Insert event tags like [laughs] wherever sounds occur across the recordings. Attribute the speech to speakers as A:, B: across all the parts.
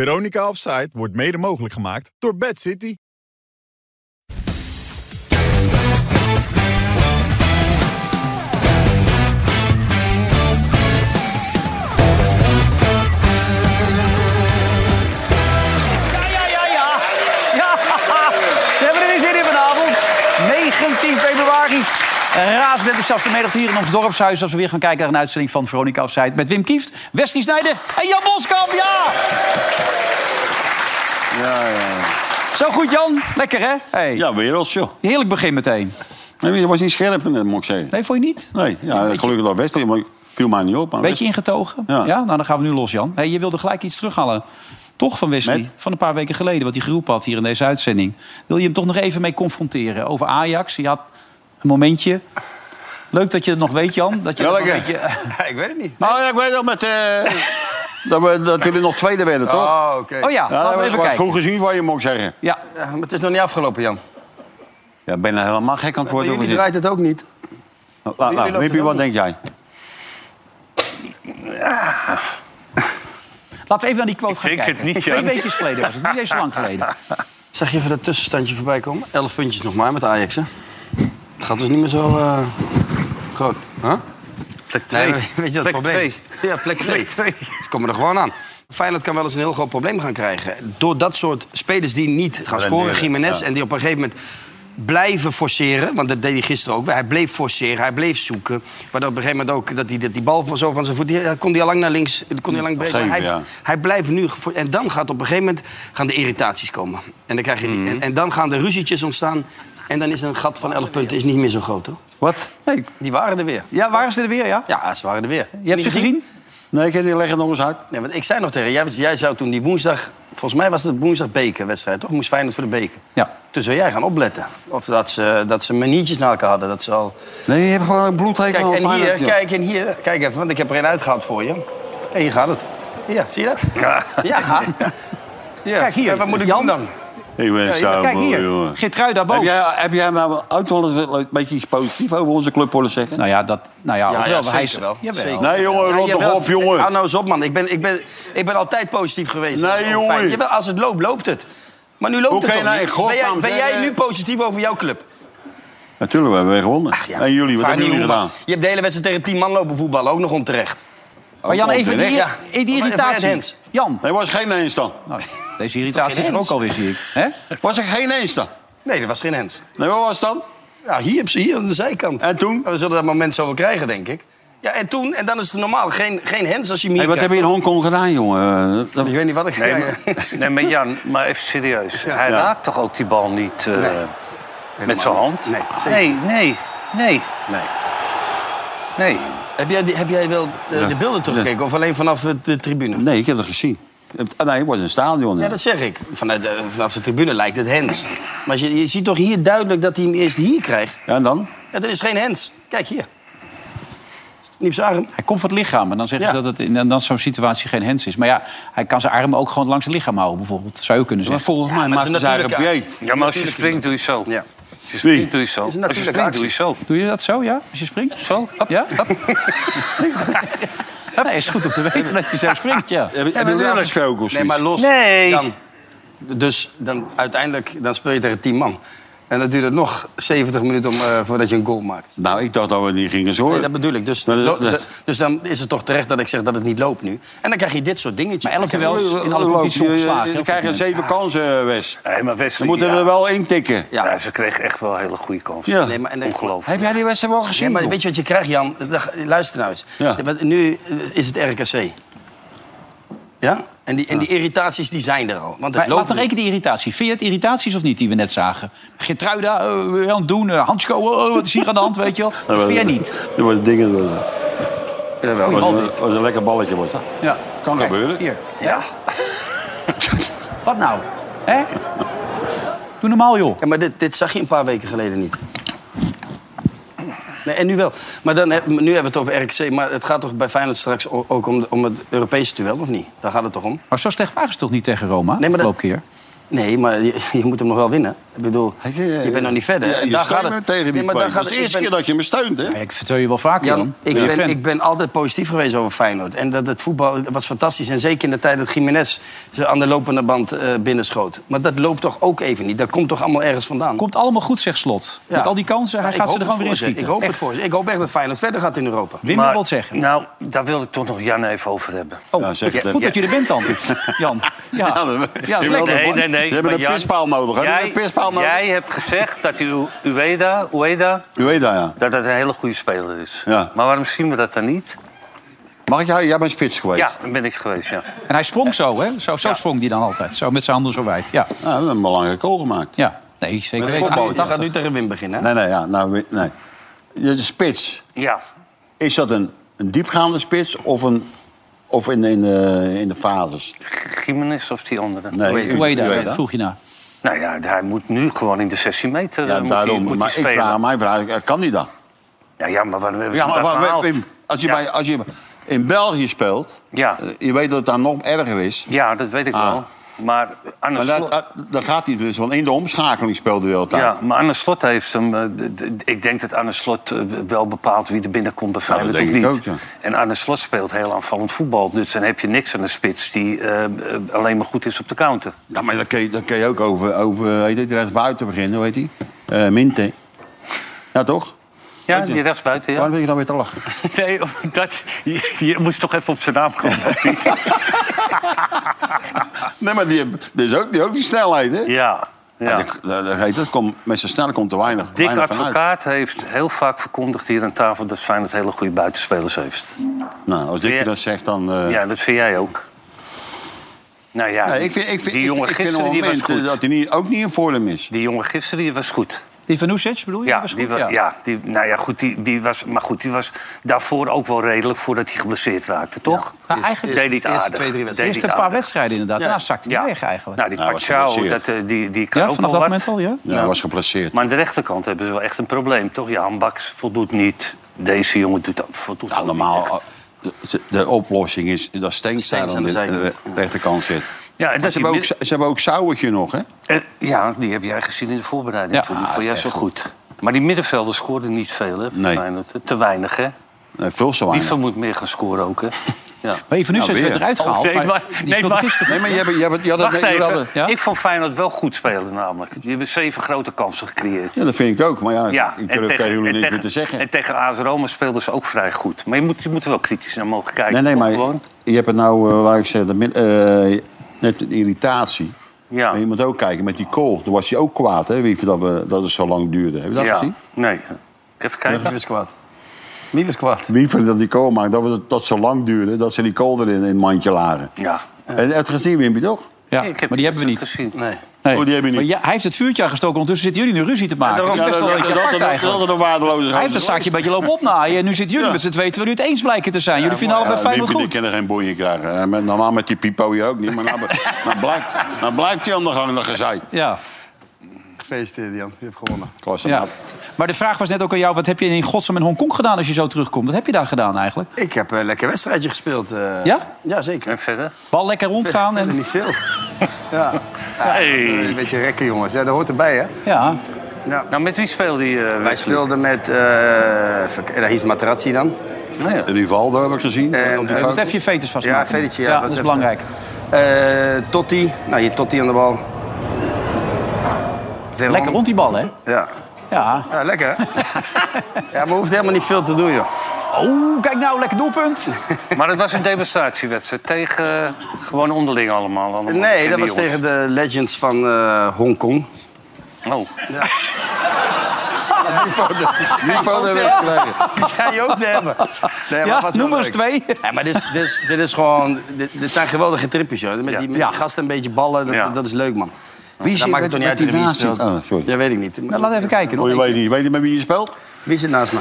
A: Veronica Offside wordt mede mogelijk gemaakt door Bad City.
B: Ja, ja, ja, ja. Ja, ze hebben er weer zin in vanavond. 19 februari. Razend enthousiaste middag hier in ons dorpshuis... als we weer gaan kijken naar een uitzending van Veronica Offside... met Wim Kieft, Wesley Snijder en Jan Boskamp. Ja!
C: Ja, ja.
B: Zo goed, Jan. Lekker, hè? Hey.
C: ja werelds, joh.
B: Heerlijk begin meteen.
C: Nee, je was niet scherp net, moet ik zeggen.
B: Nee, vond je niet?
C: Nee, ja, gelukkig dat Wesley, maar ik viel mij niet op. maar
B: Beetje ingetogen? Ja.
C: Ja.
B: Nou, dan gaan we nu los, Jan. Hey, je wilde gelijk iets terughalen. Toch van Wesley,
C: Met?
B: van een paar weken geleden... wat hij geroepen had hier in deze uitzending. Wil je hem toch nog even mee confronteren over Ajax? Je had een momentje. Leuk dat je het nog weet, Jan. Dat je dat nog
C: Welke?
B: een beetje-
D: [laughs]
B: eh,
D: ik weet het niet.
C: Nou ja, ik weet nog met... eh, dat, we, dat jullie nog tweede werden, toch?
D: Oh, oké.
B: Oh ja,
C: dat
B: laten
C: was
B: we even
C: wel
B: kijken.
C: goed gezien van je, moet ik zeggen.
B: Ja,
D: Ja, maar het is nog niet afgelopen, Jan.
C: Ja, ik ben er helemaal gek aan het
D: Maar
C: worden.
D: jullie
C: over dit.
D: draait het ook niet.
C: Nou, nou,
D: jullie lopen
C: Wimpy, wat
D: er ook
C: denk jij?
B: Ah. laten we even naar die quote gaan
E: denk
B: kijken.
E: het niet,
B: Twee
E: Jan.
B: weken geleden was het, niet eens zo lang geleden.
D: [laughs]
E: [laughs]
D: Zag je even dat tussenstandje voorbij komen? Elf puntjes nog maar met Ajax, hè? Het gaat dus niet meer zo eh, groot. Huh? Plek
E: twee.
D: [laughs] weet je dat
E: Plek
D: probleem?
E: twee.
D: Ja, plek 2. Ze komen er gewoon aan. Feyenoord kan wel eens een heel groot probleem gaan krijgen. Door dat soort spelers die niet gaan scoren,
C: Renderen,
D: Jiménez...
C: ja.
D: en die op een gegeven moment blijven forceren. Want dat deed hij gisteren ook. weer. Hij bleef forceren, hij bleef zoeken. Maar op een gegeven moment ook dat, hij, dat die bal zo van zijn voet... Die, dat kon hij al lang naar links, dat kon hij al lang breken. Maar
C: gegeven
D: Hij,
C: moment, ja.
D: hij blijft nu... gevo- En dan gaat op een gegeven moment gaan de irritaties komen. En dan, krijg je
C: Mhm.
D: die, en, en dan gaan de ruzietjes ontstaan. En dan is een gat van 11 punten is niet meer zo groot, hoor.
C: Wat?
B: Nee.
D: Die waren er weer.
B: Ja, waren ze er weer, ja?
D: Ja, ze waren er weer.
B: Je hebt ze gezien?
C: Nee, ik heb die leggen nog eens uit.
D: Nee, want ik zei nog tegen je, jij, was- jij zou toen die woensdag... Volgens mij was het woensdag bekerwedstrijd, toch? Moest Feyenoord voor de beker.
B: Ja.
D: Toen zou jij gaan opletten. Of dat ze, dat ze maniertjes naar elkaar hadden. Dat ze al...
C: Nee, je hebt gewoon een bloedhekel
D: Kijk,
C: aan
D: en hier,
C: Feyenoord, joh.
D: kijk, en hier. Kijk even, want ik heb er een uitgehaald voor je. En hier gaat het. Ja, zie je dat? Ja.
C: [laughs]
D: ja.
B: Kijk hier,
D: En Wat moet ik
B: Jan.
D: doen dan?
C: Ik ben zo
B: Kijk
C: moe,
B: hier,
C: jongen.
B: Geertrui daar
C: Heb
B: boven.
C: jij, heb jij nou ooit wel eens een beetje iets positiefs over onze club willen zeggen?
B: Nou ja, dat... Nou ja, ook wel, maar hij is-
D: zeker wel.
B: Jawel.
D: Zeker.
C: Nee, jongen, rot
D: jawel.
C: toch op, jongen.
D: Hou nou eens op, man. Ik ben, ik ben, ik ben altijd positief geweest.
C: Nee,
D: Dat is wel
C: jongen.
D: fijn. Jawel, als het loopt, loopt het. Maar nu loopt
C: Hoe
D: het
C: kan je
D: toch
C: nou in
D: niet? Ben jij,
C: godsnaam
D: ben jij
C: zeggen-
D: nu positief over jouw club?
C: Natuurlijk, we hebben weer gewonnen.
D: Ja,
C: en jullie, wat
D: vaar
C: hebben
D: niet
C: jullie
D: om, man.
C: gedaan?
D: Je hebt de hele wedstrijd tegen tien man lopen voetballen, ook nog onterecht.
B: Maar
C: Oh,
B: Jan, even die,
D: Ja.
B: die
D: Van
B: irritatie.
D: Hens.
B: Jan,
C: Nee, was geen eens dan.
B: Nou, deze irritatie is er ook alweer, zie ik. Hè?
C: Was er geen eens dan?
D: Nee, dat was geen hens.
C: Nee, wat was het dan?
D: Ja, hier, op z'n- hier aan de zijkant.
C: En toen?
D: We zullen dat moment zo wel krijgen, denk ik. Ja, en toen, en dan is het normaal. Geen, geen hens als je hem
C: Hey,
D: hier
C: wat heb je in Hongkong gedaan, jongen? Eh, dat-
D: Ik weet niet wat ik...
E: Nee,
D: ja,
E: maar,
D: ja.
E: nee, maar Jan, maar even serieus. Hij
C: Ja.
E: raakt toch ook die bal niet eh, met zijn hand?
D: Nee, zeker.
E: nee, nee, nee,
D: Nee.
E: nee.
D: Heb jij, die- heb jij wel eh, de beelden teruggekeken of alleen vanaf eh, de tribune?
C: Nee, ik heb het gezien. Het- ah, Nee, het was een stadion.
D: Ja,
C: Ja,
D: dat zeg ik. Vanuit de, vanaf de tribune lijkt het hens. Maar als je, je ziet toch hier duidelijk dat hij hem eerst hier krijgt.
C: En dan?
D: Ja, dat is geen hens. Kijk hier. Niet op zijn arm.
B: Hij komt voor het lichaam en dan zeggen ze
D: Ja.
B: dat het in en dan zo'n situatie geen hens is. Maar ja, hij kan zijn arm ook gewoon langs het lichaam houden, bijvoorbeeld. Zou je kunnen
C: Maar
B: zeggen.
C: volgens mij dus
D: maar het
C: maakte
D: is
C: ze
D: een
C: eigen
D: natuurlijke
C: dieet.
E: Ja, maar als je springt, doe je zo.
D: Ja.
E: Als je springt,
C: Wie?
E: doe je zo.
D: is een
E: Als je
D: natuurlijke
E: springt, doe je zo.
B: Doe je dat zo, ja? Als je springt?
E: Zo, hop,
B: Ja?
E: hop.
B: Nee, is goed om te weten dat je zo springt, ja.
C: Heb je- Heb je
E: natuurlijk.
C: wel gesproken of
D: Nee, maar
C: zoiets?
D: los.
E: Nee.
D: Jan. dus dan, uiteindelijk dan speel je tegen 10 man. En dan duurt het nog 70 minuten om, eh, voordat je een goal maakt.
C: Nou, ik dacht dat we niet gingen
D: Nee, dat
C: zorgen.
D: bedoel ik. Dus,
C: Maar dat-
D: lo-
C: dat-
D: de- dus dan is het toch terecht dat ik zeg dat het niet loopt nu. En dan krijg je dit soort dingetjes.
B: Maar elf duels in alle competities ongeslagen.
C: We
B: heel goed.
C: krijgen eh, zeven kansen, Wes.
E: Nee, maar
C: Ze
E: Wesley,
C: moeten
E: ja.
C: er wel intikken.
D: Ja.
E: Ja, ze kreeg echt wel hele goede kansen.
C: Ja.
D: Nee, maar- en-
E: Ongelooflijk.
C: Heb jij die wedstrijd wel
D: Ja,
C: gezien?
D: maar
C: joh?
D: weet je wat je krijgt, Jan? Dag- Luister nou eens.
C: Ja.
D: Want Nu eh, is het RKC. Ja? En die, en die irritaties die zijn er al. Want het
B: Maar
D: loopt
B: laat nog één keer die irritatie. Vind je het irritaties of niet, die we net zagen? Gertruida, eh, aan het doen, eh, Hansko, oh, wat is hier aan de hand, weet je wel? Dat vind jij niet.
C: Dat was dingen. Dat was, dat
D: niet. Jawel.
C: was een, was een lekker balletje, was dat.
B: Ja.
C: Kan
B: Kijk,
C: gebeuren.
B: Hier.
E: Ja.
B: Wat nou? Hè? Doe normaal, joh.
D: Ja, maar dit, dit zag je een paar weken geleden niet. Nee, en nu wel. Maar dan, heb- nu hebben we het over RKC. Maar het gaat toch bij Feyenoord straks o- ook om, de- om het Europese duel, of niet? Daar gaat het toch om?
B: Maar zo slecht waren ze toch niet tegen Roma?
D: Nee, maar dat-
B: Loopkeer.
D: Nee, maar je, [laughs] je moet hem nog wel winnen. Ik bedoel, je bent nog niet verder.
C: eh, Ja,
D: En
C: je
D: daar
C: steunt
D: gaat
C: me
D: het.
C: tegen die
D: Nee, maar daar
C: twee.
D: gaat
C: Dat is
D: het-
C: de
D: ik
C: eerste
D: ben-
C: keer dat je me steunt, hè?
B: Ja, Ik vertel je wel vaak,
D: Jan,
B: Jan.
D: ik
B: Ja,
D: ben,
B: fan.
D: ik ben altijd positief geweest over Feyenoord. En dat het voetbal het was fantastisch. En zeker in de tijd dat Jiménez ze aan de lopende band eh, binnenschoot. Maar dat loopt toch ook even niet? Dat komt toch allemaal ergens vandaan?
B: Komt allemaal goed, zegt Slot.
D: Ja.
B: Met al die kansen, hij
D: Maar
B: gaat
D: ik
B: ze er
D: hoop
B: gewoon weer in
D: het voor ze.
B: schieten.
D: Ik hoop
B: echt.
D: het voor ze. Ik hoop echt dat Feyenoord verder gaat in Europa.
B: Wim wil
E: Maar-
B: wat zeggen.
E: Nou, daar wil ik toch nog Jan even over hebben.
B: Oh,
C: Ja, zeg het
B: goed
C: even.
B: dat je er
C: [laughs]
B: bent dan, Jan. Ja,
C: Ja, dat-
B: ja is
C: je
B: lekker.
C: wilde-
E: Nee, nee, nee.
C: Je hebt
E: maar
C: een
E: Jan,
C: pispaal nodig, hè? Je hebt
E: Jij,
C: een pispaal nodig.
E: jij hebt gezegd dat U- Ueda, Ueda
C: U weet dat, ja.
E: dat dat een hele goede speler is.
C: Ja.
E: Maar waarom zien we dat dan niet?
C: Mag ik jou? Jij bent spits geweest.
E: Ja, dat ben ik geweest, ja.
B: En hij sprong zo, hè? Zo, zo sprong hij dan altijd. Zo met zijn handen zo wijd. Ja,
C: Nou, we hebben een belangrijke goal gemaakt.
B: ja. Nee, zeker weten.
D: Kopbal, Je gaat
B: 88.
D: nu tegen Wim beginnen. hè?
C: Nee, nee, ja. Nou, we- nee. Je spits.
E: Ja,
C: Is dat een, een diepgaande spits of, een, of in, in, de, in de fases?
E: Gimenez of die andere.
C: Nee, u-
B: Hoe heet
C: u
B: dat?
C: weet
B: Dat
C: dat.
B: vroeg je na.
E: Nou ja, hij moet nu gewoon in de 16 meter eh,
C: Ja,
E: moet
C: daarom.
E: hij, moet
C: maar
E: hij
C: ik
E: spelen.
C: vraag, mijn vraag is, eh, kan die dan?
E: Ja, ja, maar waarom hebben ze
C: Ja,
E: ja,
C: maar, maar-
E: gehaald?
C: Wim, als je,
E: ja.
C: bij, als je in België speelt,
E: Ja.
C: eh, je weet dat het daar nog erger is.
E: ja, dat weet ik
C: Ah.
E: wel. Maar aan de
C: Maar
E: slot...
C: dat, eh, dat gaat niet dus, want in de omschakeling speelt hij de hele tijd.
E: Ja, maar Anne Slot heeft hem... eh, d- d- ik denk dat Anne Slot eh, wel bepaalt wie er binnenkomt bij Feyenoord
C: dat
E: of
C: denk
E: niet.
C: ik ook,
E: En Anne Slot speelt heel aanvallend voetbal. Dus dan heb je niks aan een spits die eh, eh, alleen maar goed is op de counter.
C: Ja, maar dan kun je, dan kun je ook over, over heet het, rechtsbuiten beginnen, hoe heet die? Eh, Minte. Ja, toch?
E: Ja,
C: Weet je.
E: die rechtsbuiten, ja.
C: Waarom ben je dan weer te lachen?
E: [laughs] Nee, dat, je, je moest toch even op zijn naam komen. of niet?
C: Nee, maar die, hebben- die, is ook, die ook die snelheid, hè?
E: ja, ja.
C: Ja, dat- dat- dat heet het, kom, met zijn snelheid komt er weinig,
E: Dick
C: weinig van uit.
E: Advocaat heeft heel vaak verkondigd hier aan tafel... dat Feyenoord hele goede buitenspelers heeft.
C: Nou, als ik
E: Ja.
C: dat zeg, dan... eh,
E: Ja, dat vind jij ook. Nou ja,
C: nee, ik vind, ik vind,
E: die
C: ik-
E: jongen
C: ik vind
E: gisteren
C: op
E: die
C: het
E: was
C: moment, eh,
E: goed.
C: dat hij niet, ook niet in vorm is.
E: Die jongen gisteren die was goed.
B: Die van Oesets bedoel je?
E: Ja,
B: was
E: die
B: goed,
E: was, ja. die, nou ja, goed, die, die was, maar goed, die was daarvoor ook wel redelijk voordat hij geblesseerd raakte, toch?
B: Nou, eigenlijk
E: deed hij het
D: eerste
E: aardig.
D: twee, drie
E: Deed
B: de
E: hij het
D: wedstrijden.
B: eerste paar
E: aardig.
B: wedstrijden inderdaad.
D: Ja.
B: Daarna zakte hij weg eigenlijk.
E: Nou, die
C: Nou, hij was
E: Pachau,
C: geblesseerd.
E: dat, eh, die, die kan
B: ja,
E: ook
B: vanaf
E: wel
B: dat
E: wat.
B: moment al, ja.
C: Ja, hij was geplaceerd.
E: Maar aan de rechterkant hebben ze wel echt een probleem, toch? Ja, Hambaks voldoet niet. Deze jongen doet dat, voldoet
C: Ja,
E: ook niet
C: normaal,
E: echt.
C: eh, de, de oplossing is dat Stenks daar
D: Stenks
C: aan
D: aan
C: eh, de,
D: de zijkant.
C: re- rechterkant zit.
E: Ja, en
C: Maar
E: dat
C: ze,
E: die
C: hebben ook,
E: mid-
C: ze hebben ook Sauertje nog, hè?
E: Eh, ja, die heb jij gezien in de voorbereiding.
B: Ja.
E: toen. Die
C: Ah,
E: vond
C: is
E: jij
C: echt
E: zo goed. Maar die middenvelders scoorden niet veel, hè? voor
C: Nee.
E: Feyenoord. Te weinig, hè?
C: Nee, veel zo
E: Die
C: weinig.
E: van
C: Nou,
E: moet meer gaan scoren ook,
C: [laughs]
E: hè? Ja.
B: Maar Ivan Oesets
C: weer.
B: werd eruit
E: Oh,
B: gehaald.
E: nee,
B: maar,
E: maar-
B: die
E: nee,
B: speelde
E: maar-
B: gisteren.
C: Nee, maar je, hebt, je, hebt, je had het-
E: Wacht
C: je had
E: even.
C: het-
B: Ja?
E: Ik vond Feyenoord wel goed spelen namelijk. Die hebben zeven grote kansen gecreëerd.
C: Ja, dat vind ik ook. Maar ja,
E: Ja,
C: ik durf tegen jullie
E: en
C: niks meer
E: tegen-
C: te zeggen.
E: En tegen AS Roma speelden ze ook vrij goed. Maar je moet, je moet er wel kritisch naar mogen kijken.
C: nee, nee,
E: toch
C: maar
E: Gewoon.
C: je hebt het nou, eh, waar ik zeg, de min- eh, net een irritatie.
E: Ja.
C: Maar je moet ook kijken met die kool. Toen was hij ook kwaad, hè, Wie dat, we, dat het zo lang duurde. Heb je dat
E: ja.
C: gezien?
E: Nee. Even
D: Wie
E: kijken.
D: was kwaad? Wie was kwaad?
C: Wiever dat die kool maakt, dat het dat zo lang duurde... dat ze die kool erin in het mandje lagen. Eh.
E: Ja.
C: En het gezien, Wimpy, toch?
B: Ja,
E: Nee, ik heb
B: maar die hebben we
E: het
B: niet.
E: Gezien.
D: Nee.
B: Nee.
C: Oh, die hebben we niet.
B: Maar ja, hij heeft het vuurtje aangestoken. Ondertussen zitten jullie nu ruzie te maken.
D: daarom-
B: dat is best wel een beetje apart eigenlijk.
C: een waardeloze
B: Hij heeft een zaakje een beetje lopen opnaaien. En nu zitten jullie met z'n tweeën terwijl jullie het eens blijken te zijn. Jullie vinden allebei Feyenoord
C: Wimpy, die
B: goed.
C: kan er geen boeien krijgen. Eh, met- Normaal met die Pipo hier ook niet. Maar nou,
D: [laughs]
C: be- nou blijft, nou blijft hij aan de gang, dat gezeik.
B: Ja,
D: Gefeliciteerd, Jan. Je hebt gewonnen.
C: Klasse,
B: ja.
C: maat.
B: Maar de vraag was net ook aan jou. Wat heb je in godsnaam in Hongkong gedaan als je zo terugkomt? Wat heb je daar gedaan eigenlijk?
D: Ik heb een lekker wedstrijdje gespeeld. eh.
B: Ja?
D: Ja, zeker.
E: En verder?
B: Bal lekker rondgaan.
D: Verder
B: En...
D: niet veel. ja. Ja,
E: Hey.
D: Een beetje rekken, jongens. Ja, dat hoort erbij, hè?
B: Ja,
E: Nou, met wie speelde die? eh,
D: Wij
E: Wesley?
D: speelden met... eh verk- eh, hier is Materazzi dan.
E: Nou ja.
C: Rivaldo heb ik gezien.
D: En,
C: op die
D: eh,
C: foto.
B: dat heb je fetus vast.
D: Ja, Fedetje, ja.
B: ja, dat is
D: even-
B: belangrijk.
D: Eh, Totti. Nou, hier Totti aan de bal. Zeeland.
B: Lekker rond die bal, hè?
D: Ja.
B: Ja.
D: ja, lekker, hè? [laughs] ja, maar hoeft helemaal niet veel te doen, joh.
B: Oh, kijk nou, lekker doelpunt.
E: Maar het was een demonstratiewedstrijd tegen eh, gewoon onderling allemaal. allemaal
D: Nee, dat
E: die jongens.
D: was tegen de Legends van eh, Hongkong.
E: Oh.
C: Pipo, dat heb ik gekregen.
D: [laughs] Die schijn je ook te hebben. Nee,
B: Ja,
D: was wel
B: noem maar eens
D: leuk.
B: twee.
D: Ja, maar dit, is- dit, is, dit is gewoon... Dit, dit zijn geweldige tripjes, joh. Met die, met die
B: Ja.
D: gasten een beetje ballen, dat,
E: Ja.
D: dat is leuk, man.
C: Wie
D: Dan maakt het toch niet uit wie je speelt.
C: Oh, sorry.
D: Ja, weet ik niet.
B: Nou, laat even kijken.
C: Oh, je
B: Hoor.
C: weet niet. Weet je met wie je speelt?
D: Wie zit naast me?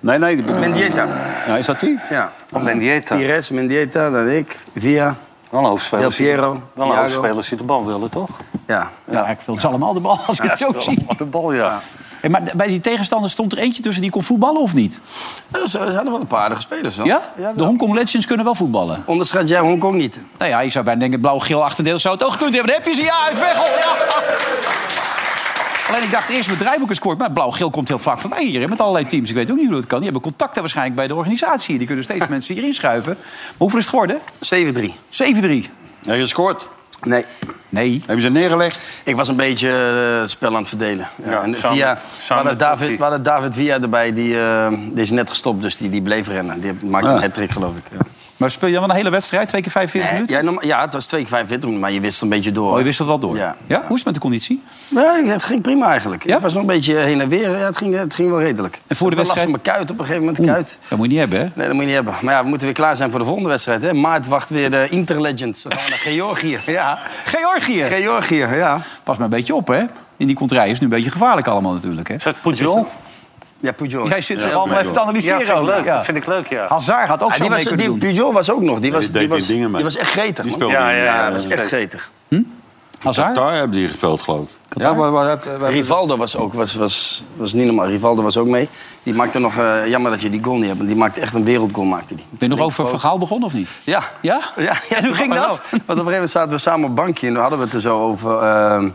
C: Nee, nee. die-
D: Mendieta.
C: Ja, is dat die?
D: Ja.
E: Op Mendieta.
D: Pires, Mendieta, dan ik. Via.
E: Oh, Wel een hoofdspeler.
D: Del Piero,
E: Wel een
D: Thiago.
E: hoofdspeler die de bal willen, toch?
D: Ja.
B: Ja, ik wil ze allemaal de bal als ik het zo zie.
E: De bal, ja.
B: Hey, maar d- bij die tegenstander stond er eentje tussen die kon voetballen of niet?
D: Ja, ze ze hadden wel een paar aardige spelers. hoor.
B: Ja? de
D: wel.
B: Hongkong Legends kunnen wel voetballen.
D: Onderschat jij Hongkong niet.
B: Nou ja, ik zou bijna denken, blauw-geel achterdeel zou het ook kunnen hebben. Dan heb je ze, ja, uit Weghel. Ja. Alleen ik dacht eerst met draaiboeken scoort, maar blauw-geel komt heel vaak voorbij hier. hè, Met allerlei teams. Ik weet ook niet hoe dat kan. Die hebben contacten waarschijnlijk bij de organisatie. Die
D: [laughs]
B: kunnen steeds mensen hierin schuiven. Maar hoeveel is het geworden?
D: 7-3.
B: 7-3.
C: Nee, gescoord.
D: Nee.
B: Nee.
C: Hebben ze neergelegd?
D: Ik was een beetje eh, het spel aan het verdelen. Ja,
E: Ja,
D: en
E: samen
D: Villa,
E: met- samen
D: we, hadden
E: met
D: David,
E: Totti.
D: we hadden David Villa erbij. Die, eh, die is net gestopt, dus die, die bleef rennen. Die maakte
C: Ah.
D: een hat geloof ik. Ja.
B: Maar speel je dan wel een hele wedstrijd, twee keer 45 minuten?
D: Jij norma- ja, het was 2 keer 45 minuten, maar je wist het een beetje door.
B: Oh, je wist dat wel door.
D: Ja.
B: Hoe is het met de conditie?
D: Ja, het ging prima eigenlijk.
B: Ja?
D: Het was nog een beetje heen en weer. Ja, het, ging, het ging wel redelijk.
B: En voor de
D: Ik had last
B: wedstrijd?
D: van mijn kuit op een gegeven moment. Kuit.
B: Dat moet je niet hebben, hè?
D: Nee, dat moet je niet hebben. Maar ja, we moeten weer klaar zijn voor de volgende wedstrijd. Hè? Maart wacht weer de Interlegends. Dan gaan
B: [laughs]
D: we naar Georgië. Ja.
B: Georgië!
D: Georgië, ja.
B: Pas maar een beetje op, hè? In die contraille is het nu een beetje gevaarlijk allemaal natuurlijk, hè?
E: Is dat Pujol?
D: Ja, Pujol.
B: Jij zit er allemaal even te
E: Ja,
B: analyseren.
E: vind ik
B: ook,
E: leuk.
B: ja.
E: Dat vind ik leuk, ja.
B: Hazard had ook
D: Ja,
B: zo
D: die was,
B: mee kunnen
D: die
B: doen.
D: Pujol was ook nog. Die was,
C: die deed
D: was,
C: die dingen mee.
D: die was echt gretig.
C: Die
D: man.
C: speelde
E: Ja,
C: in,
E: ja,
D: Ja,
C: eh,
D: dat was echt gretig.
C: Hm?
B: Hazard?
C: Qatar hebben die gespeeld, geloof ik. Ja, wat, wat, wat- wat-
D: Rivaldo was ook was, was, was niet normaal. Rivaldo was ook mee. Die maakte nog... eh, jammer dat je die goal niet hebt. want Die maakte echt een wereldgoal, maakte die.
B: Ben je nog over verhaal begonnen of niet?
D: Ja.
B: Ja?
D: ja,
B: En hoe ging
D: maar
B: dat?
D: wel. Want op een gegeven moment zaten we samen op een bankje... en toen hadden we het er zo over, ehm,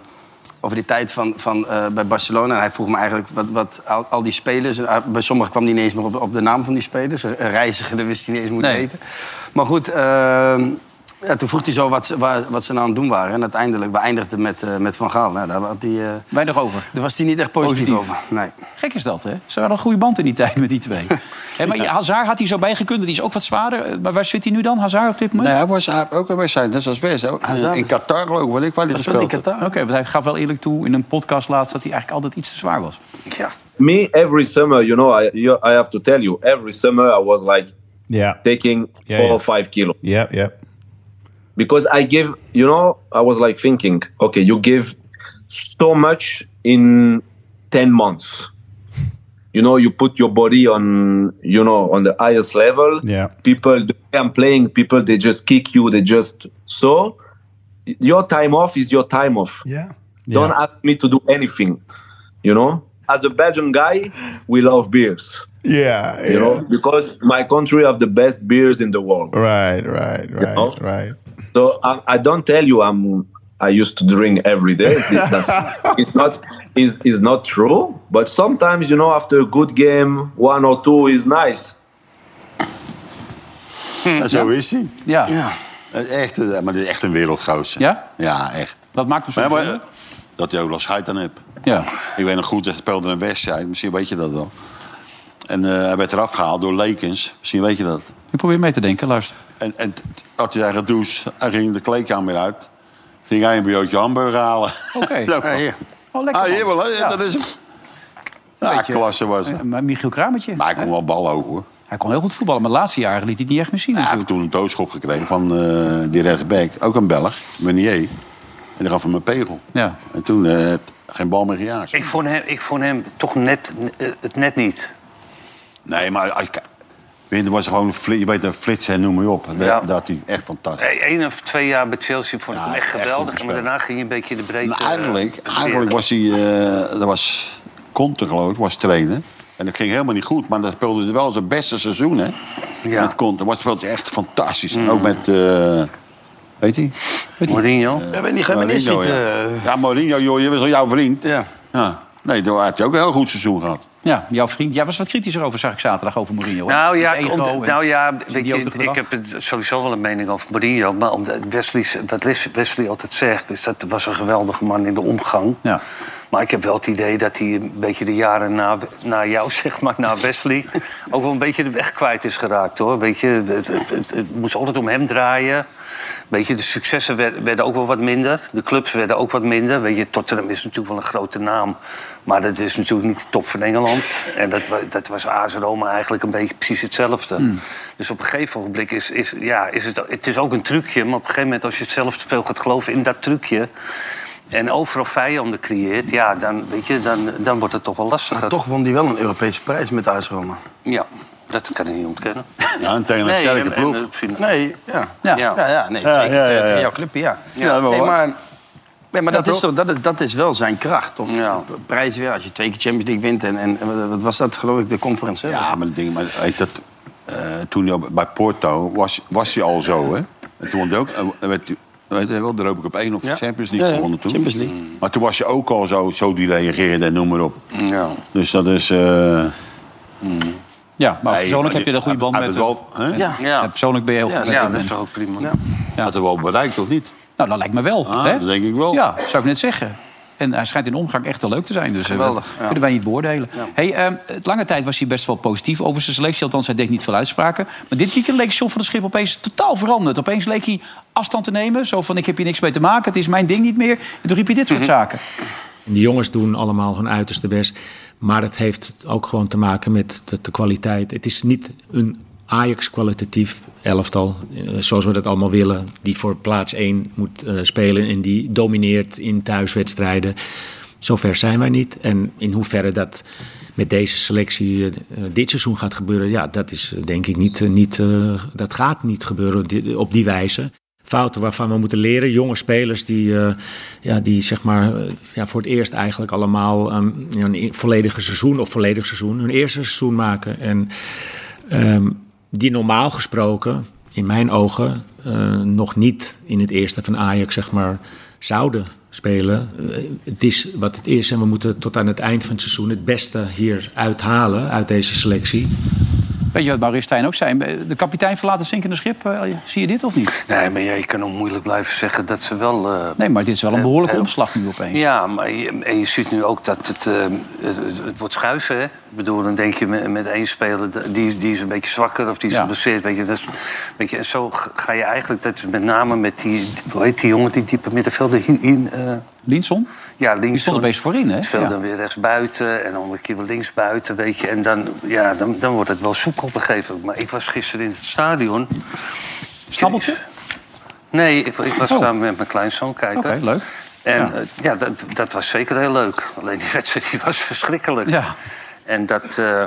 D: over die tijd van, van, eh, bij Barcelona. En hij vroeg me eigenlijk wat, wat al, al die spelers... eh, bij sommigen kwam hij niet eens meer op, op de naam van die spelers. Een reiziger, dat wist hij niet eens hoe het
B: Nee.
D: heette. Maar goed, ehm, ja, toen vroeg hij zo wat, ze- waar- wat ze nou aan het doen waren. En uiteindelijk, we eindigden met, eh, met Van Gaal. Nou, daar, had hij, eh,
B: Weinig over.
D: daar was hij niet echt positief,
B: Positief.
D: over. Nee.
B: Gek is dat, hè? Ze hadden een goede band in die tijd met die
C: [laughs]
B: twee. Hé, maar Hazard had hij zo bijgekund, die is ook wat zwaarder. Eh, Maar waar zit hij nu dan, Hazard, op dit moment?
C: Nee, hij was hij heeft ook een wedstrijd, net zoals West.
D: zou-
C: In Qatar geloof ik, wel ik waar die
D: Speelde in
C: gespeeld heeft.
D: Qatar.
B: Oké, want hij gaf wel eerlijk toe in een podcast laatst... dat hij eigenlijk altijd iets te zwaar was.
E: ja.
F: me every summer you know i you, i have to tell you every summer i was like
G: Yeah.
F: taking
G: Yeah,
F: four
G: yeah.
F: or five kilo
G: Yeah. Yeah.
F: because i give you know i was like thinking okay you give so much in 10 months you know you put your body on you know on the highest level
G: Yeah.
F: people the way i'm playing people they just kick you they just so your time off is your time off
G: Yeah.
F: don't ask me to do anything you know as a belgian guy we love beers
G: Yeah.
F: you know because my country have the best beers in the world
G: Right. Right. Right.
F: know?
G: Right.
F: so I, I don't tell you i'm i used to drink every day
G: [laughs]
F: That's, it's not is is not true but sometimes you know after a good game one or two is nice
D: Hm,
C: En zo is hij.
B: Ja,
C: Echt, eh, maar dit is echt een wereldgozer.
B: Ja?
C: Ja, echt.
B: dat maakt me
C: Maar,
B: soms...
C: maar,
B: wel-
C: eh, dat hij ook wel scheid aan hebt.
B: Ja.
C: Ik weet nog goed, hij speelde een wedstrijd. Misschien weet je dat wel. En eh, hij werd eraf gehaald door Lekens. Misschien weet je dat.
B: Ik probeer mee te denken, luister.
C: En, en t- had hij zijn gedoucht. Hij ging de kleedkamer uit. Ging hij een broodje hamburger halen.
B: Oké.
C: [laughs] Zo.
D: Ja, hier.
B: Oh, lekker
C: ah, hier
B: man.
C: wel. hè?
B: Ja.
C: Dat is hem.
E: Dus-
C: Ja, klasse was het.
B: Maar Michiel Kramertje,
C: Maar hij kon wel ballen ook, hoor.
B: hij kon heel goed voetballen. Maar de laatste jaren liet hij het niet echt meer zien
C: Ja, Hij heeft
B: natuurlijk.
C: toen een doodschop gekregen van eh die rechtsback. Ook een Belg, Meunier. En die gaf hem een pegel.
B: Ja.
C: En toen eh, t- geen bal meer gejaagd.
E: Ik vond hem, ik vond hem toch net, eh, het net niet.
C: Nee, maar als je- Winter was gewoon een fli- je weet, een flits en noem maar op. Dat,
E: Ja. Eh,
C: dat hij echt fantastisch.
E: Eén of twee jaar bij Chelsea vond ik
C: Ja,
E: hem echt
C: echt goed
E: geweldig. Maar
C: gespeeld.
E: daarna ging hij een beetje in de breedte.
C: En
E: eh,
C: eigenlijk,
E: verkeren.
C: eigenlijk was hij... eh dat was Conte, geloof ik, was trainer. En dat ging helemaal niet goed. Maar dat speelde hij wel zijn beste seizoen, hè.
E: Ja. Mm.
C: Met Conte. Dat speelde hij echt fantastisch. En Ook met... eh, weet je?
E: Mourinho.
D: Ja, weet niet, ga je me
C: Mourinho,
D: neerschieten.
C: ja.
D: eh.
C: ja, Mourinho, joh, je was al jouw vriend.
D: Ja.
C: Ja. Nee, daar had hij ook een heel goed seizoen gehad.
B: Ja, jouw vriend. Jij was wat kritischer over, zag ik zaterdag, over Mourinho. hè?
E: Nou ja,
B: Met ego
E: om de-
B: en-
E: nou ja weet je,
B: idiote
E: ik
B: gedrag.
E: heb het sowieso wel een mening over Mourinho. Maar omdat Wesley, wat Wesley altijd zegt, is dat was een geweldige man in de omgang.
B: Ja.
E: Maar ik heb wel het idee dat hij een beetje de jaren na, na jou, [laughs] zeg maar, na Wesley... ook wel een beetje de weg kwijt is geraakt, hoor. Weet je, het, het, het- het moest altijd om hem draaien. Weet je, de successen werd- werden ook wel wat minder. De clubs werden ook wat minder. Weet je, Tottenham is natuurlijk wel een grote naam. Maar dat is natuurlijk niet de top van Engeland. En dat, wa- dat was AS Roma eigenlijk een beetje precies hetzelfde.
C: Hmm.
E: Dus op een gegeven ogenblik is, is, ja, is het... Het is ook een trucje, maar op een gegeven moment... als je het zelf te veel gaat geloven in dat trucje en overal vijanden creëert, ja, dan, weet je, dan, dan wordt het toch wel lastiger.
D: Toch won hij wel een Europese prijs met AS Roma.
E: Ja, dat kan ik niet ontkennen.
C: Ja, en tegen een sterke
E: en- en,
C: ploeg.
E: eh, vind-
D: Nee, ja.
B: Ja.
D: Ja, ja, nee,
C: Ja,
D: zeker.
C: ja, ja,
D: Eh,
C: ja.
D: Jouw clubje, ja.
C: Ja, dat wel
D: nee,
C: waar.
D: maar Nee, maar dat,
E: Ja,
D: is toch, dat, is, dat is wel zijn kracht. Toch?
E: Ja.
D: Prijs weer, als je twee keer Champions League wint. En, en en wat was dat, geloof ik, de conference? hè?
C: Ja, maar dat ding, maar weet dat, eh, toen hij al bij Porto was, was hij al zo, hè? En toen won hij ook, eh, werd, hij- weet je wel, de Europa Cup 1 of
D: Ja.
C: Champions
D: Ja,
C: League
D: ja,
C: gewonnen toen. Mm.
D: Champions League.
C: Maar toen was je ook al zo, zo die reageerde en noem maar op.
D: Mm,
E: Ja.
C: Dus dat is... eh,
B: Ja, maar
C: nee,
B: persoonlijk heb je een goede
C: hij-
B: band
C: hij
B: met
C: heeft
B: hem.
C: wel- hè?
D: Ja.
E: Ja.
B: Ja, Persoonlijk ben je heel goed
D: Ja,
B: met
E: Ja,
B: hem.
E: dat is toch ook prima.
D: Ja.
C: Had hij wel bereikt, of niet?
B: Nou, dat lijkt me wel.
C: Ah,
B: hè?
C: dat denk ik wel.
B: Ja, zou ik net zeggen. En hij schijnt in de omgang echt wel leuk te zijn. Dus eh,
D: Geweldig,
B: dat
D: ja.
B: kunnen wij niet beoordelen. Hey, ehm, het lange tijd was hij best wel positief over zijn selectie. Althans, hij deed niet veel uitspraken. Maar dit weekend leek John van der Schip opeens totaal veranderd. Opeens leek hij afstand te nemen. Zo van, ik heb hier niks mee te maken. Het is mijn ding niet meer. En toen riep hij dit
E: Mhm.
B: soort zaken.
G: En de jongens doen allemaal hun uiterste best. Maar het heeft ook gewoon te maken met de, de kwaliteit. Het is niet een Ajax-kwalitatief elftal, eh, zoals we dat allemaal willen. Die voor plaats 1 moet eh, spelen en die domineert in thuiswedstrijden. Zover zijn wij niet. En in hoeverre dat met deze selectie eh, dit seizoen gaat gebeuren, ja, dat is eh, denk ik niet. eh, niet eh, dat gaat niet gebeuren di- op die wijze fouten waarvan we moeten leren. Jonge spelers die, eh, ja, die zeg maar, eh, ja, voor het eerst eigenlijk allemaal ehm, ja, een e- volledige seizoen of volledig seizoen, hun eerste seizoen maken. En ehm, die normaal gesproken, in mijn ogen, eh, nog niet in het eerste van Ajax zeg maar, zouden spelen. Eh, het is wat het is en we moeten tot aan het eind van het seizoen het beste hier uithalen uit deze selectie.
B: Weet je wat Maurice Stijn ook zei? De kapitein verlaat het zinkende schip. Eh, zie je dit of niet?
E: Nee, maar ja, je kan ook moeilijk blijven zeggen dat ze wel... eh,
B: Nee, maar dit is wel een
E: Eh,
B: behoorlijke
E: eh,
B: omslag nu opeens.
E: Ja, maar je, en je ziet nu ook dat het, eh, het, het- het wordt schuiven. Hè? Ik bedoel, dan denk je met, met één speler, d- die, die is een beetje zwakker of die is
B: Ja.
E: geblesseerd. Weet je, dat is, weet je, en zo g- ga je eigenlijk, dat is met name met die, hoe heet die jongen, die diepe middenvelder, Hi- in, eh,
B: Linson?
E: ja, links.
B: Die stond opeens voorin, hè?
E: Speelde
B: Ja.
E: dan weer rechts buiten en dan weer een keer weer links buiten, weet je. En dan, ja, dan, dan wordt het wel zoek op een gegeven moment. Maar ik was gisteren in het stadion.
B: Snabbeltje?
E: Nee, ik, ik was
B: Oh.
E: daar met mijn kleinzoon kijken.
B: Oké, leuk.
E: En
B: Ja.
E: ja, ja dat, dat was zeker heel leuk. Alleen die [laughs] wedstrijd die was verschrikkelijk.
B: Ja.
E: En dat... eh,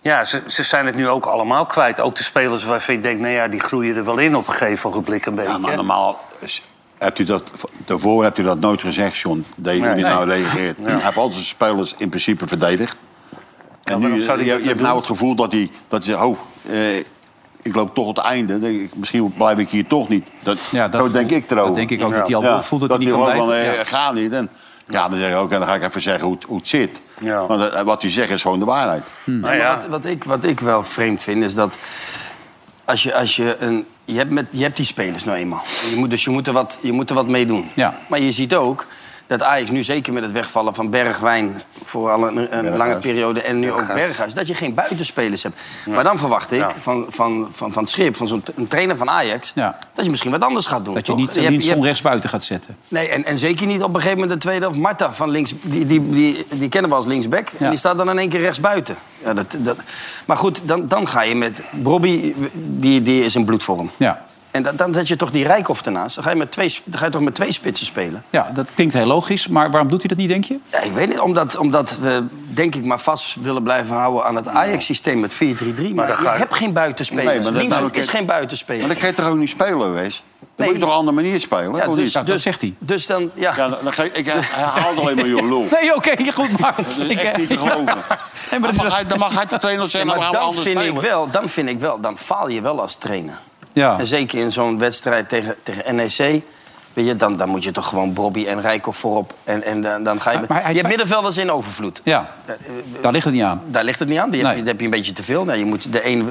E: ja, ze, ze zijn het nu ook allemaal kwijt. Ook de spelers waarvan je denkt, nou ja, die groeien er wel in op een gegeven ogenblik een beetje.
C: Ja, maar normaal is- hebt u dat, daarvoor hebt u dat nooit gezegd, John. Dat je niet nou reageert. Hij heeft altijd zijn spelers in principe verdedigd. En nu,
E: waarom zou hij
C: je, je
E: dat
C: hebt
E: doen?
C: nou het gevoel dat hij, dat hij zegt, oh, eh, ik loop toch het einde. Denk ik, Misschien blijf ik hier toch niet. Dat,
B: Ja, dat
C: zo denk
B: voelt-
C: ik erover.
B: dat denk ik ook, dat hij al voelt dat hij niet kan
C: gewoon
B: blijven.
C: Van, eh,
B: Ja.
C: Ga niet. En, ja, dan zeg ik ook, en dan ga ik even zeggen hoe, het- hoe het zit.
E: Ja.
C: Want eh, wat hij zegt is gewoon de waarheid.
E: Nou ja.
D: Maar wat, wat, ik, wat ik wel vreemd vind is dat. Als je, als je, een, je, hebt met, je hebt die spelers nou eenmaal. Je moet, dus je moet, er wat, je moet er wat mee doen.
B: Ja.
D: Maar je ziet ook dat Ajax nu zeker met het wegvallen van Bergwijn... voor al een, een lange periode en nu ook Berghuis... dat je geen buitenspelers hebt. Maar dan verwacht ik
E: Ja.
D: van, van, van, van het schip, van zo'n t- een trainer van Ajax...
B: Ja.
D: dat je misschien wat anders gaat doen.
B: Dat je
D: toch?
B: niet eh,
D: hebt- je
B: Linson
D: hebt-
B: rechts buiten gaat zetten.
D: Nee, en, en zeker niet op een gegeven moment de tweede of Marta van links. Die, die, die, die kennen we als linksback.
B: Ja.
D: En die staat dan in één keer rechtsbuiten. Ja, dat, dat. Maar goed, dan, dan ga je met Bobby, die, die is in bloedvorm.
B: Ja.
D: En dat- dan zet je toch die Rijkoff ernaast. Dan ga, je met twee, sp- dan ga je toch met twee spitsen spelen.
B: ja, dat klinkt heel logisch. Maar waarom doet hij dat niet, denk je? [laughs]
D: Ja, ik weet niet, omdat, omdat we denk ik maar vast willen blijven houden aan het Ajax-systeem met 4-3-3. Maar,
E: dan
D: je
E: ga je-
D: hebt geen
C: Nee,
D: buitenspelers.
C: maar dat-
D: Links
C: nou,
D: is
C: kijk-
D: geen buitenspeler.
C: Maar dan kan je toch ook niet spelen, Wes? Dan
D: Nee.
C: moet je toch op een andere manier spelen?
D: Ja,
C: of
D: dus,
C: niet?
B: Ja, dat zegt hij.
D: Dus dan, ja.
C: Ja, dan, dan ge- ik haal alleen maar je
D: [laughs]
C: lul.
B: Nee, oké, goed, maar...
C: Dat is echt
D: eh,
C: niet te geloven.
B: Nee, maar dat
C: dan,
B: is
C: mag hij, dan mag hij de trainer
D: Ja,
C: zeggen,
D: maar
C: we gaan
D: dan
C: anders
D: vind, ik
C: spelen.
D: wel, dan vind ik wel, dan faal je wel als trainer.
B: Ja.
D: En zeker in zo'n wedstrijd tegen, tegen NEC. Weet je, dan, dan moet je toch gewoon Bobby en Rijkoff voorop. En, en dan, dan ga je...
B: Maar- maar hij-
D: je hebt middenvelders in overvloed. eh, nou,
B: ja, daar ligt het niet aan.
D: Daar ligt het niet aan. Die, heb,
B: Nee.
D: je- die heb je een beetje te veel. Nou, je moet de een